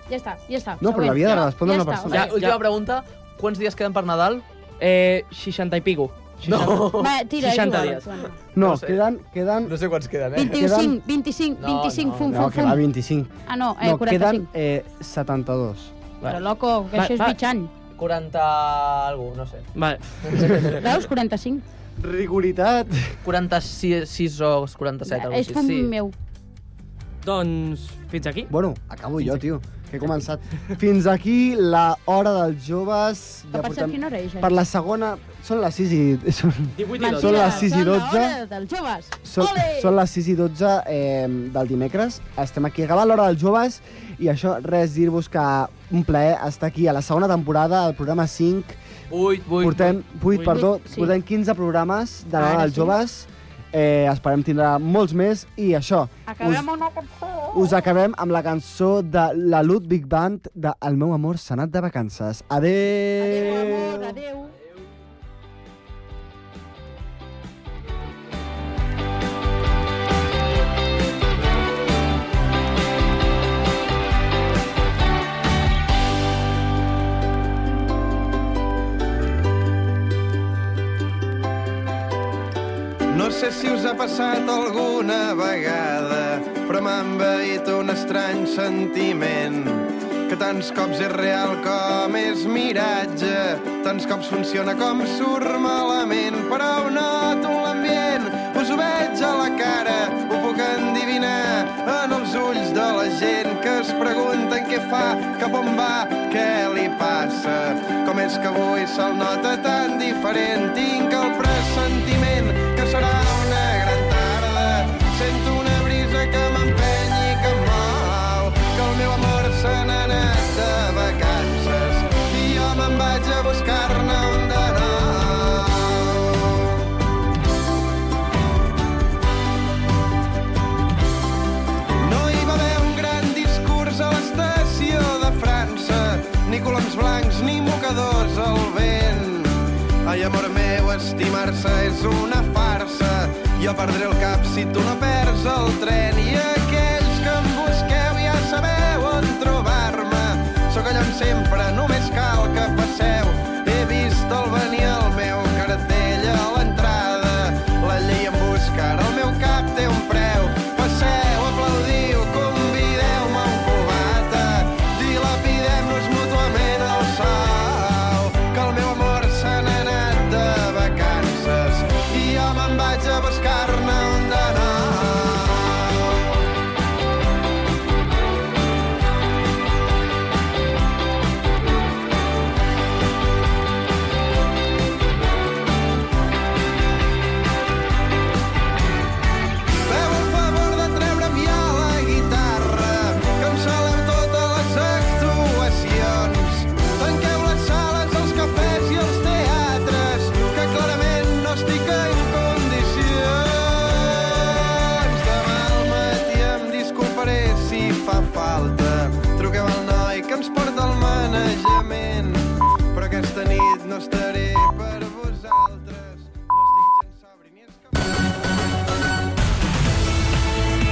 Ja està, ja està. No, però següent. l'havia de Ja- respondre ja una està, persona. vale. Ja, Última pregunta. Quants dies queden per Nadal? Eh, 60 i pico. No. Va, tira, 60 juga, dies. Joan. No, queden, queden... No sé quants queden, eh. 25, 25, No, 25, no, fum, no, fum, que va fum. 25. Ah, no, eh, no 45. queden eh, 72. Però, loco, que Va, això és va. mitjan. 40... algo, no sé. Vale. Veus? 45. Rigoritat. 46 o 47, algo és així. fum Sí. meu. Doncs fins aquí. Bueno, acabo jo, tio, que he començat. Fins aquí la hora dels joves. Que passa quina hora és, eh? ja? Per la segona... Són les 6 i... Són, Mentida, són les 6 i Són 12. la hora dels joves. Són, Ole! són les 6 i 12 eh, del dimecres. Estem aquí acabant l'hora dels joves i això, res, dir-vos que un plaer estar aquí a la segona temporada, al programa 5. 8, 8, portem, 8, vuit. perdó, Vuit, sí. sí. portem 15 programes de Ara l'hora dels sí. joves. Eh, esperem tindre molts més i això, us, Acabem una cançó. us acabem amb la cançó de la Ludwig Band de El meu amor s'ha anat de vacances. Adéu! Adéu, amor, adéu! No sé si us ha passat alguna vegada, però m'ha envaït un estrany sentiment que tants cops és real com és miratge, tants cops funciona com surt malament, però ho noto en l'ambient, us ho veig a la cara, ho puc endivinar en els ulls de la gent que es pregunten què fa, cap on va, què li passa, com és que avui se'l nota tan diferent, tinc el pressentiment que serà una gran tarda. Sento una brisa que m'empeny i que em mou, que el meu amor se n'ha anat de vacances i jo me'n vaig a buscar-ne un de nou. No hi va haver un gran discurs a l'estació de França, ni coloms blancs ni mocadors al vent. Ai, amor meu, estimar-se és una farsa. Jo perdré el cap si tu no perds el tren.